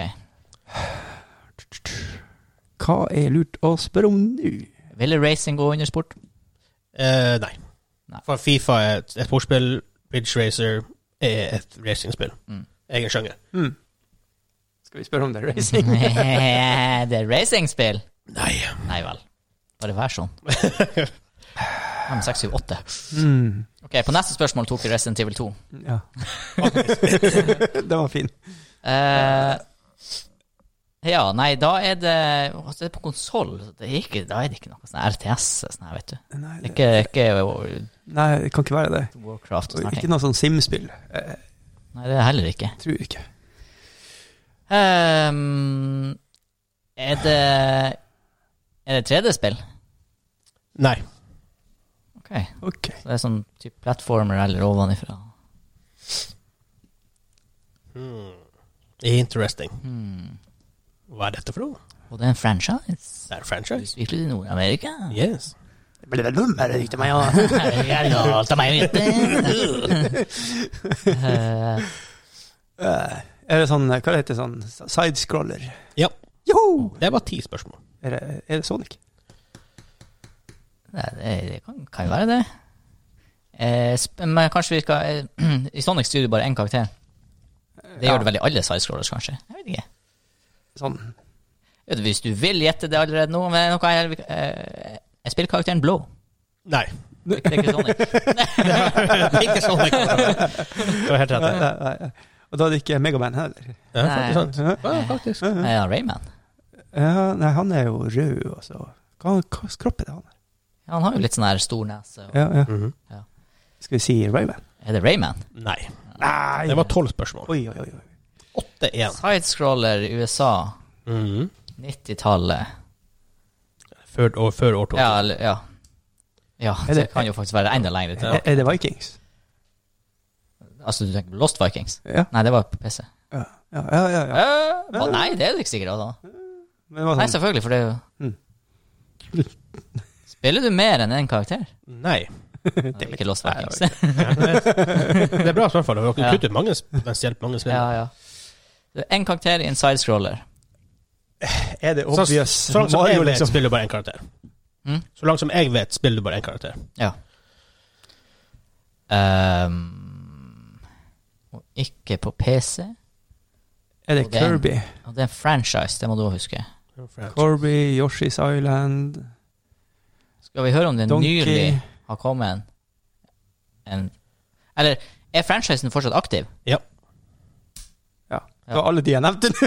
Speaker 3: Hva er lurt å spørre om nå?
Speaker 1: Ville racing gå under sport?
Speaker 2: Eh, nei.
Speaker 1: Nei.
Speaker 2: For Fifa er et, et sportsspill. Bridge Racer er et racingspill.
Speaker 1: Mm.
Speaker 2: Egen sjanger.
Speaker 3: Skal vi spørre om det er racing?
Speaker 1: det er racingspill?
Speaker 2: Nei.
Speaker 1: Nei vel. Bare vær sånn. 5, 6, 7, 8. Ok, På neste spørsmål tok vi Resident Evil 2.
Speaker 3: Mm. Ja. Den var fin.
Speaker 1: Eh, ja, nei, da er det altså, Det er på konsoll. Da er det ikke noe sånn RTS, sånn her, vet du.
Speaker 3: Nei, det,
Speaker 1: Ikke, ikke
Speaker 3: nei, det kan ikke være det.
Speaker 1: Warcraft og sånne
Speaker 3: Ikke
Speaker 1: ting.
Speaker 3: noe sånn Sim-spill. Eh,
Speaker 1: Nei, det er heller ikke.
Speaker 3: tror jeg ikke.
Speaker 1: Ehm, er det Er det 3D-spill?
Speaker 2: Nei.
Speaker 1: Ok. Så
Speaker 3: Ok.
Speaker 1: det er sånn type platformer eller ovenifra.
Speaker 2: Interesting.
Speaker 1: Hmm.
Speaker 2: Hva er dette for noe?
Speaker 1: Og det er en franchise?
Speaker 2: Det er franchise.
Speaker 1: Utviklet i Nord-Amerika?
Speaker 2: Yes.
Speaker 3: Ble det dum, er det riktig meg å
Speaker 1: Jeg låter meg vite. Eh,
Speaker 3: Eh, Er det sånn, eh, hva heter det, sånn sidescroller?
Speaker 2: Ja.
Speaker 3: Joho!
Speaker 2: Det var ti spørsmål.
Speaker 3: Er det, er det Sonic?
Speaker 1: Nei, det, det kan, kan jo være det. Eh, sp- men kanskje vi skal eh, I Sonic Studio bare én karakter. Det
Speaker 3: Ja.
Speaker 1: gjør det vel i alle sidescrollers, kanskje? Jeg vet ikke.
Speaker 3: Sånn.
Speaker 1: Vet du, Hvis du vil gjette det allerede nå men noe her, eh, Jeg spiller karakteren blå.
Speaker 2: Nei.
Speaker 1: Det er ikke Sonic. Det er ikke Sonic.
Speaker 2: Du har helt rett.
Speaker 3: Nei, nei, nei. Og da er det ikke Megaman heller.
Speaker 2: Ja,
Speaker 1: Nei.
Speaker 2: sant, sant. Ja, faktisk.
Speaker 1: Nei, ja, Rayman.
Speaker 3: Ja, nei, han er jo rød, altså. Hva, hva slags kropp er det han har?
Speaker 1: Ja, han har jo litt sånn her stor nese. og-
Speaker 3: Ja, ja.
Speaker 2: Mhm.
Speaker 3: Skal vi si Rayman?
Speaker 1: Er det Rayman?
Speaker 2: Nei.
Speaker 3: Nei!
Speaker 2: Det var tolv spørsmål.
Speaker 3: Oi, oi, oi. oi.
Speaker 2: 8-1.
Speaker 1: Sidescroller i USA.
Speaker 2: Mhm.
Speaker 1: 90-tallet.
Speaker 2: Før, og, før år 2000.
Speaker 1: Ja, eller Ja. Ja,
Speaker 3: Er
Speaker 1: det
Speaker 3: det-
Speaker 1: kan jo faktisk være enda lenger til.
Speaker 3: Er, er det Vikings?
Speaker 1: Altså, du tenker på Lost Vikings?
Speaker 3: Ja.
Speaker 1: Nei, det var på PC.
Speaker 3: Ja, ja, ja. ja, ja.
Speaker 1: Eh, å, nei, det er det ikke sikkert. Altså.
Speaker 3: Men det var
Speaker 1: Nei,
Speaker 3: sånn,
Speaker 1: selvfølgelig, for det er jo
Speaker 3: Mm.
Speaker 1: Spiller du mer enn én karakter?
Speaker 2: Nei.
Speaker 1: Det er ikke Lost Vikings.
Speaker 2: Det er bra spørsmål. Dere
Speaker 1: Ja.
Speaker 2: har kuttet mange, sp- potensielt mange spill.
Speaker 1: ja, ja. Det er En karakter i en sidescroller.
Speaker 3: er det
Speaker 2: Så,
Speaker 3: obvious?
Speaker 2: så langt som
Speaker 3: Mario,
Speaker 2: jeg vet,
Speaker 3: liksom.
Speaker 2: spiller du bare én karakter.
Speaker 1: Mm.
Speaker 2: Så langt som jeg vet, spiller du bare én karakter.
Speaker 1: Ja. Ehm, og ikke på PC.
Speaker 3: Er det
Speaker 1: Og det er en-
Speaker 3: Kirby?
Speaker 1: Og det er en franchise, det må du også huske.
Speaker 3: Kirby, Yoshi's Island,
Speaker 1: Skal vi høre om det
Speaker 3: Donkey
Speaker 1: nylig har kommet en, en Eller er franchisen fortsatt aktiv?
Speaker 2: Ja.
Speaker 3: Ja.
Speaker 1: Ja.
Speaker 3: Det var alle de jeg nevnte nå.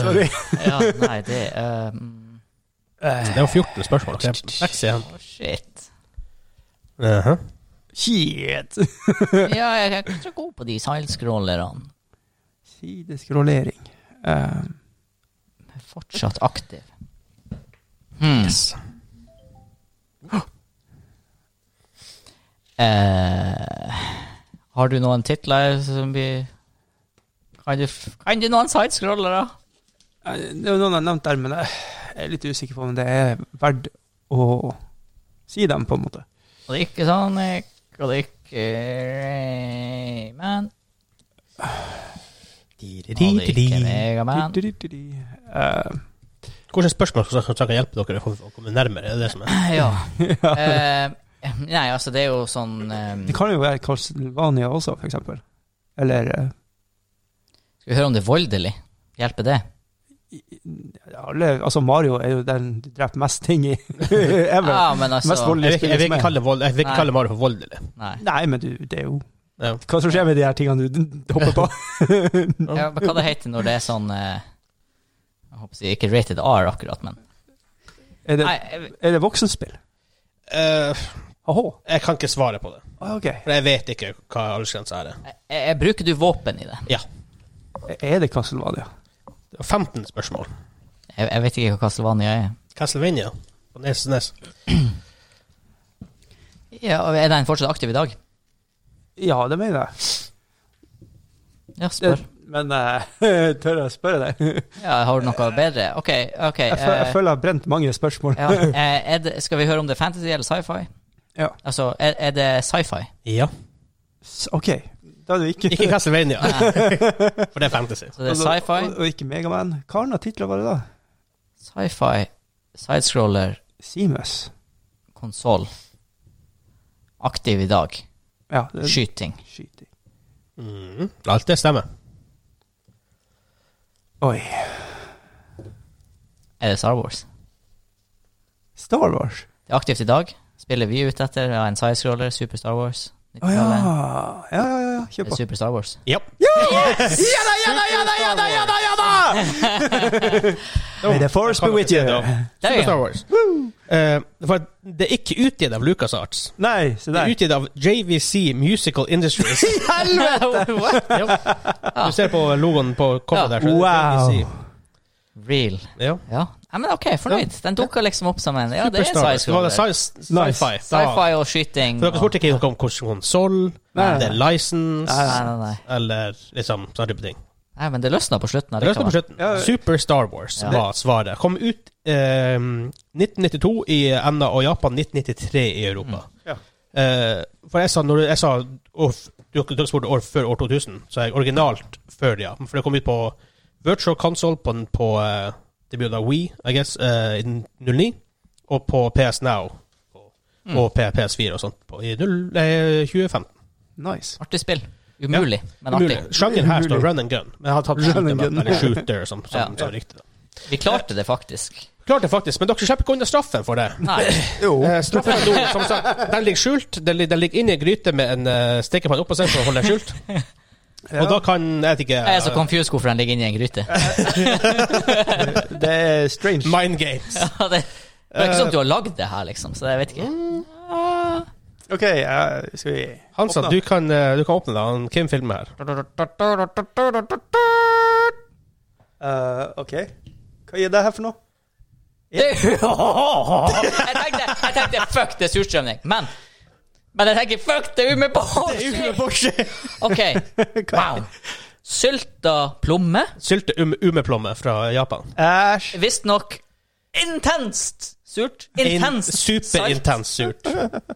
Speaker 3: Sorry.
Speaker 1: Eh, Ja, nei, det ehm,
Speaker 2: Det er jo 14 spørsmål. så jeg- Seks igjen.
Speaker 1: Å, Shit.
Speaker 2: Jaha.
Speaker 3: Shit.
Speaker 1: Ja, jeg jeg er ikke så god på de sidescrollerne.
Speaker 3: Sideskrollering. Um,
Speaker 1: er fortsatt aktiv. Hmm. Eh, har du noen titler som vi Kan du, f- kan du noen sidescrollere?
Speaker 3: eh, det er noen jeg har nevnt der, men jeg er litt usikker på om det er verdt å si dem, på en måte.
Speaker 1: Og det er ikke Sonic, og det er ikke eh, Rayman, og det er ikke Megaman.
Speaker 3: Eh,
Speaker 2: Hvilke spørsmål som som kan hjelpe dere for å komme nærmere? Det er det som er.
Speaker 1: Ja. Eh, nei, altså, det er jo sånn eh,
Speaker 3: det kan jo være Castlevania også, for eksempel. Eller eh,
Speaker 1: Skal vi høre om det er voldelig? Hjelper det?
Speaker 3: alle, Altså, Mario er jo den du dreper mest ting i ever.
Speaker 1: Ja, men altså
Speaker 3: Mest voldelig.
Speaker 2: Jeg vil ikke, jeg vil
Speaker 3: Spiller
Speaker 2: ikke kalle, vold, jeg vil ikke
Speaker 1: Nei.
Speaker 2: kalle Mario for voldelig.
Speaker 1: Nei.
Speaker 3: Nei, men du, det er jo
Speaker 2: Ja.
Speaker 3: Hva som skjer med de her tingene du d- hopper på?
Speaker 1: Ja, men hva det heter når det er sånn eh, Jeg håper å si ikke rated R akkurat, men
Speaker 3: Er det,
Speaker 1: Nei, jeg-
Speaker 3: er det voksenspill?
Speaker 2: Eh,
Speaker 3: Aha.
Speaker 2: jeg kan ikke svare på det,
Speaker 3: Ah, Ok.
Speaker 2: for jeg vet ikke hva aldersgrensa er.
Speaker 1: jeg, jeg bruker du våpen i det?
Speaker 2: Ja.
Speaker 3: Er det Castlevania?
Speaker 2: Det var 15 spørsmål.
Speaker 1: Jeg, jeg vet ikke hva Castlevania er.
Speaker 2: Castlevania på Nes Nes.
Speaker 1: Ja, og Er den fortsatt aktiv i dag?
Speaker 3: Ja, det mener jeg.
Speaker 1: Ja,
Speaker 3: Det,
Speaker 1: spør.
Speaker 3: men eh, tør jeg å spørre deg?
Speaker 1: Ja, Har du noe bedre? OK. ok
Speaker 3: Jeg, føl, jeg
Speaker 1: eh,
Speaker 3: føler jeg har brent mange spørsmål.
Speaker 1: ja, eh, er det, Skal vi høre om det er fantasy eller sci-fi?
Speaker 3: Ja.
Speaker 1: Altså, er, er det sci-fi?
Speaker 2: Ja.
Speaker 3: S- Ok, da er det ikke
Speaker 2: Ikke Castlevania, for det er fantasy.
Speaker 1: Så det er
Speaker 3: Altså,
Speaker 1: sci-fi,
Speaker 3: Og, og ikke Megaman. Hva annet titler var det da? altså-
Speaker 1: sci-fi, sidescroller,
Speaker 3: Seamus.
Speaker 1: konsoll. Aktiv i dag.
Speaker 3: Ja, det er
Speaker 1: Skyting.
Speaker 3: skyting.
Speaker 2: Mm. Alt det stemmer.
Speaker 3: Oi.
Speaker 1: Er det Star Wars?
Speaker 3: Star Wars.
Speaker 1: Det er aktivt i dag. Spiller vi ut etter ja, en sidescroller, Super Star Wars.
Speaker 3: Å ja.
Speaker 1: 90-tallet.
Speaker 3: Ja, ja, ja. ja. Kjør
Speaker 1: Det er
Speaker 3: på.
Speaker 1: Super Star Wars.
Speaker 2: Ja.
Speaker 3: Ja da, ja da, ja da, ja da, ja da! Ja, da!
Speaker 2: Oh,
Speaker 3: May the force be with you.
Speaker 1: Der,
Speaker 2: Super
Speaker 1: ja.
Speaker 2: Star Wars. Eh, for det er ikke utgitt av LucasArts.
Speaker 3: Nei, se
Speaker 2: Det er
Speaker 3: der.
Speaker 2: utgitt av JVC Musical Industries.
Speaker 1: Helvete!
Speaker 2: ja. Du ser på logoen på coveret
Speaker 1: Ja.
Speaker 2: der. så er det
Speaker 3: Wow.
Speaker 2: JVC.
Speaker 1: Real.
Speaker 2: Ja.
Speaker 1: Ja. Nei, men OK, fornøyd. Den dukka liksom opp som en Ja, det er
Speaker 2: Superstar Wars. Det var
Speaker 1: sci-scroller.
Speaker 2: sci- Sci-fi.
Speaker 3: Nice.
Speaker 2: da.
Speaker 1: Sci-fi og skyting.
Speaker 2: For dere spurte ikke noe om konsoll,
Speaker 3: Nei, nei,
Speaker 2: det er license,
Speaker 1: Nei, nei, nei.
Speaker 2: eller liksom sånn type ting.
Speaker 1: Nei, men det løsna på slutten.
Speaker 2: Det løste på
Speaker 1: allikevel.
Speaker 2: slutten.
Speaker 3: Ja.
Speaker 2: Super Star Wars
Speaker 1: Ja.
Speaker 2: var svaret. Kom ut eh, 1992 i NA og Japan, 1993 i Europa.
Speaker 3: Mm. Ja.
Speaker 2: Eh, for jeg sa, når jeg sa år, du, du spurte år før år 2000, så er jeg originalt før, ja. For det kom ut på Virtual Console på, den- på eh, det blir jo da Wii, I guess, eh, i 09, og på PS Now på
Speaker 3: Mm.
Speaker 2: og PS4 og sånt på, i null- eh, 2015.
Speaker 3: Nice.
Speaker 1: Artig spill. Umulig, men artig.
Speaker 2: Umulig. Sjangeren her står
Speaker 3: Umulig.
Speaker 2: run and gun. Men jeg har tatt
Speaker 3: Run
Speaker 2: shooter,
Speaker 3: and gun.
Speaker 2: eller shooter som, som,
Speaker 1: Ja.
Speaker 2: som riktig. da.
Speaker 1: Vi klarte det faktisk.
Speaker 2: Klart det faktisk, men dere slipper ikke unna straffen for det.
Speaker 1: Nei.
Speaker 3: Jo.
Speaker 2: Eh, Straffen nå, som sagt, den ligger skjult. Den, li- den ligger inni ei gryte med en uh, stekepanne oppå seg for å holde den skjult. Og da kan jeg vet ikke eh,
Speaker 1: Jeg er så confused hvorfor den ligger inni en gryte.
Speaker 3: Det er strange.
Speaker 2: Mind games.
Speaker 1: Ja, det, det er ikke sånn at du har lagd det her, liksom, så jeg vet ikke.
Speaker 2: Mm.
Speaker 3: OK, eh, skal vi
Speaker 2: Hansa,
Speaker 3: åpne?
Speaker 2: du kan, eh, du kan åpne det. Han Kim filmer her.
Speaker 3: Eh, OK. Hva er det her for noe?
Speaker 1: jeg, tenkte, jeg tenkte fuck, det er surstrømning. Men Men jeg tenker fuck, det er jo med på OK. Wow. Sylta plomme.
Speaker 2: Sylte um, umeplomme fra Japan.
Speaker 3: Æsj.
Speaker 1: Visstnok intenst surt.
Speaker 2: In-
Speaker 1: Intenst salt.
Speaker 2: Superintens surt. Salt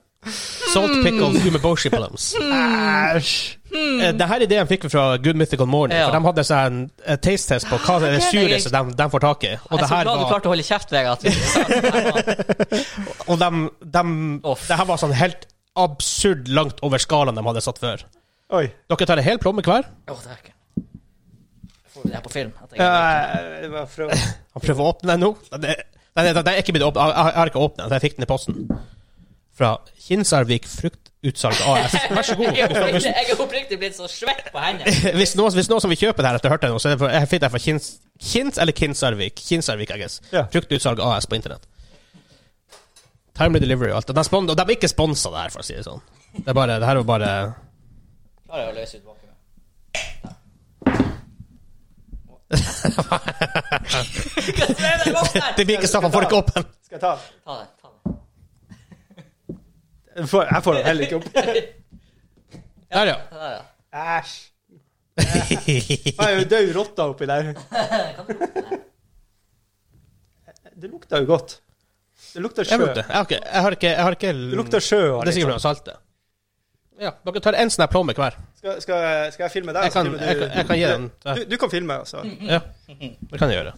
Speaker 1: Hmm.
Speaker 2: pickles umeboshi plums.
Speaker 3: Æsj.
Speaker 2: Eh, Det her ideen fikk vi fra Good Mythical Morning.
Speaker 1: Ja.
Speaker 2: For De hadde sånn eh, taste test på hva er det
Speaker 1: Ah, det er
Speaker 2: sureste de, de får tak i. Og,
Speaker 1: Jeg
Speaker 2: det
Speaker 1: er så
Speaker 2: her
Speaker 1: glad du
Speaker 2: var,
Speaker 1: klarte å holde kjeft, Vegard. at vi sa at det her var-
Speaker 2: og de, de,
Speaker 1: Off.
Speaker 2: det her var sånn helt absurd langt over skalaen de hadde satt før.
Speaker 3: Oi.
Speaker 2: Dere tar en hel plomme hver.
Speaker 1: Åh, det er ikke Får vi det her på film? At jeg-
Speaker 3: Eh, hva for å-
Speaker 2: Han prøver å åpne den nå. Den er, den er, den er ikke blitt åpnet. Jeg- Jeg jeg har ikke åpnet den. så Jeg fikk den i posten. Fra Kinsarvik Fruktutsalg AS. Vær så god.
Speaker 1: Jeg er
Speaker 2: Hvis,
Speaker 1: oppriktig- jeg er oppriktig blitt så svett på hendene.
Speaker 2: hvis, noen, hvis noen som vil kjøpe det her etter å ha hørt det nå, så er det for, jeg fikk det fra Kins, Kins eller Kinsarvik. Kinsarvik, I guess.
Speaker 3: Ja.
Speaker 2: Fruktutsalg AS på internett. Timely delivery og alt. Og de, spon- og de er ikke sponsa det her, for å si det sånn. Det, er bare, det her er jo bare
Speaker 1: Klarer jeg å løse ut vakuumet?
Speaker 2: Det blir ikke straffa, får ikke åpen.
Speaker 3: Skal jeg ta den?
Speaker 1: Ta det, ta det.
Speaker 3: Jeg får- Jeg får den heller ikke opp.
Speaker 2: Der, ja.
Speaker 1: Ta det, ja.
Speaker 3: Æsj. Jeg er jo død rotta oppi der. Det lukter jo godt. Det lukter
Speaker 2: Jeg,
Speaker 3: sjø.
Speaker 2: lukter. jeg, har ikke, jeg har ikke Jeg har ikke
Speaker 3: Det lukter sjø.
Speaker 2: Det liksom. er
Speaker 3: og litt
Speaker 2: sikkert
Speaker 3: sånn.
Speaker 2: pga. saltet. Ja, dere tar én sånn her plomme hver.
Speaker 3: Skal, skal, jeg- skal jeg filme deg?
Speaker 2: Jeg kan-
Speaker 3: så filmer
Speaker 2: jeg kan- jeg kan gi den. Mm-hmm.
Speaker 3: Du, du kan filme, altså.
Speaker 2: Ja, det kan jeg gjøre.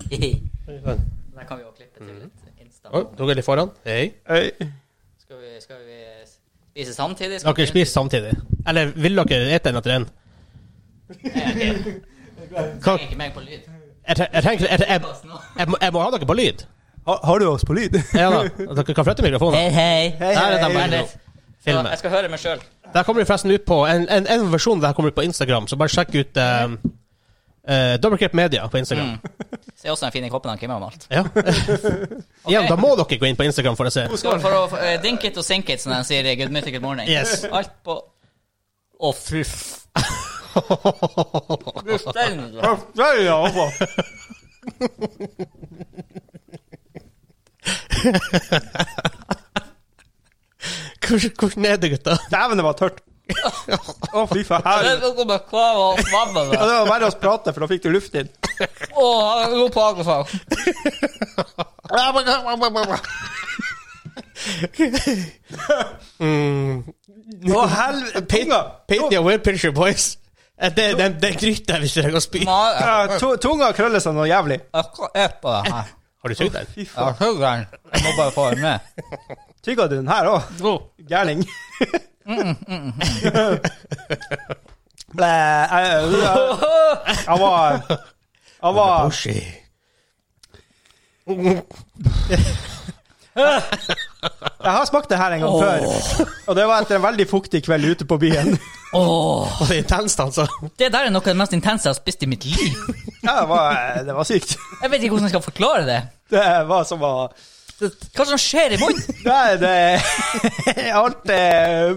Speaker 1: Der kan vi jo klippe til litt Insta.
Speaker 2: Oi, dere er litt foran. Hei.
Speaker 3: Øy.
Speaker 1: Skal vi, skal vi spise samtidig? Skal
Speaker 2: Dere
Speaker 1: vi-
Speaker 2: spiser samtidig. Eller vil dere ete en etter en? Hva-
Speaker 1: Ikke meg på lyd.
Speaker 2: Jeg tre- jeg trenger jeg, jeg, jeg, må- jeg må ha dere på lyd.
Speaker 3: Har, har du oss på lyd?
Speaker 2: Ja da. Dere kan flytte mikrofonen.
Speaker 1: Hei, hei.
Speaker 3: Hei,
Speaker 2: Der er de
Speaker 3: hei.
Speaker 1: Vent
Speaker 2: begge
Speaker 1: litt.
Speaker 2: to.
Speaker 1: Eh, Så
Speaker 2: Filmen.
Speaker 1: Jeg skal høre meg sjøl.
Speaker 2: Der kommer det forresten ut på en, en, en versjon der kommer ut på Instagram, så bare sjekk ut eh, eh, Doubleclip Media på
Speaker 1: Mm.
Speaker 2: Instagram.
Speaker 1: Se også den fine koppen han Kim har malt.
Speaker 2: Ja. Igjen, da må dere gå inn på Instagram for å se.
Speaker 1: Skål for å eh, dink it og sink it, som de sier i Good Mythic Good Morning.
Speaker 2: Yes.
Speaker 1: Alt på Å, fy f... Du stein, du.
Speaker 3: Ja, ja, altså.
Speaker 2: Hvordan hvordan er det, gutta?
Speaker 3: Dæven, det var tørt. Å, fy faen.
Speaker 1: Det
Speaker 3: Her.
Speaker 1: er noe med kvar og svabbe,
Speaker 3: Ja,
Speaker 1: da.
Speaker 3: det var verre å prate, for da fikk du luft inn.
Speaker 1: Å, ro på Agrofag.
Speaker 3: Å, helvete. Tunga.
Speaker 2: Paint me a web picture, boys. Eh, Det er den den gryta hvis du trenger å spy.
Speaker 1: Mare,
Speaker 3: Ja, tu- Tunga krøller seg noe jævlig.
Speaker 1: jeg kan et på det her.
Speaker 2: Har du sugd den?
Speaker 3: Fy faen.
Speaker 1: Jeg hugger den. Jeg må bare få den med.
Speaker 3: Tygga du den her òg? Gærning.
Speaker 2: Mm,
Speaker 3: Blæ jeg- jeg- Jeg eh, var Jeg var
Speaker 2: Oshi.
Speaker 3: Jeg har smakt det her en gang før, og det var etter en veldig fuktig kveld ute på byen.
Speaker 1: Åh,
Speaker 2: Og det er intenst, altså.
Speaker 1: det der er noe av det mest intense jeg har spist i mitt liv.
Speaker 3: Ja, det, var, eh, det var sykt.
Speaker 1: Jeg vet ikke hvordan jeg skal forklare det.
Speaker 3: Det var som å
Speaker 1: Hva som skjer i munnen?
Speaker 3: Nei, det Alt er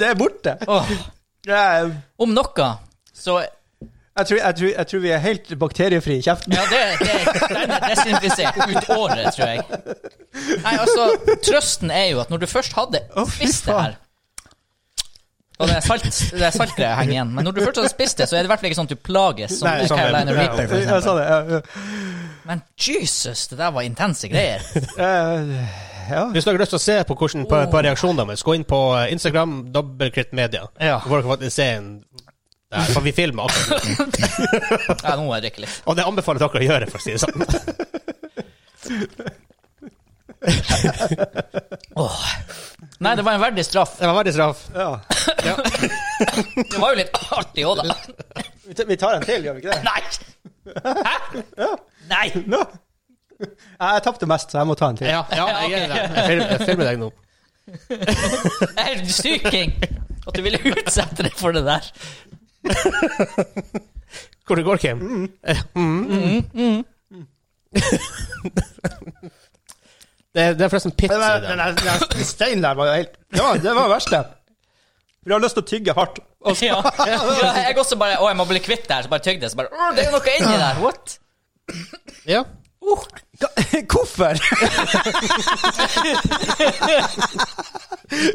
Speaker 3: Det er borte.
Speaker 1: Åh,
Speaker 3: Jeg,
Speaker 1: om noe, så
Speaker 3: jeg, tror, jeg, tror, jeg tror vi er helt bakteriefri i kjeften.
Speaker 1: Ja, det, det, den er desinfisert ut året, tror jeg. Nei, altså, trøsten er jo at når du først hadde spist det her Og det er salt Det er saltgreier jeg henger igjen, men når du først hadde spist det, så er det i hvert fall ikke sånn at du plages som
Speaker 2: Nei, sånn er det.
Speaker 1: Carolina Reaper, for
Speaker 3: Jeg sa
Speaker 1: eksempel.
Speaker 3: det. ja,
Speaker 1: Men jesus, det der var intense greier.
Speaker 3: ja. Ja.
Speaker 2: Hvis dere har lyst til å se på, hvordan, på, på reaksjonene deres, gå inn på eh, Instagram, Dobbelkritt Media.
Speaker 1: Ja.
Speaker 2: Så får Ah. dere faktisk se en der, for vi filmer akkurat.
Speaker 1: Ja, nå må jeg drikke litt.
Speaker 2: Og det anbefaler dere å gjøre, for å si det sånn.
Speaker 1: Åh. Nei, det var en verdig straff.
Speaker 2: Det var veldig straff.
Speaker 3: Ja.
Speaker 1: Det var jo litt artig òg, da.
Speaker 3: Vi tar- Vi tar en til, gjør vi ikke det?
Speaker 1: Nei! Hæ? Nei!
Speaker 3: Nå. Ja, Jeg tapte mest, så jeg må ta en til.
Speaker 2: Ja, ja, jeg er det. Jeg filmer- Jeg filmer deg nå.
Speaker 1: Jeg er syking! At du ville utsette deg for det der.
Speaker 2: Hvor det går, Kim? Eh, mm. det, er, det er forresten pizza.
Speaker 3: Den,
Speaker 2: i
Speaker 3: der-
Speaker 2: dag.
Speaker 3: den, der- den der steinen der var jo helt Ja, det var det verste. Vi har lyst til å tygge hardt. Og så-
Speaker 1: Ja. Ja, jeg også bare Å, jeg må bli kvitt det her. Så bare tygg det. Så bare Å, det er jo noe inni der. What?
Speaker 2: Ja.
Speaker 1: Uh,
Speaker 3: Hva- Oh, Hvorfor?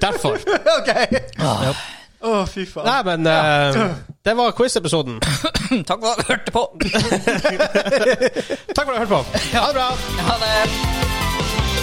Speaker 2: Derfor.
Speaker 3: OK. Å, fy faen.
Speaker 2: Nei, men eh, det var quiz-episoden.
Speaker 1: takk for at du hørte på.
Speaker 2: Takk for at du hørte på. Ha det bra.
Speaker 1: Ha det.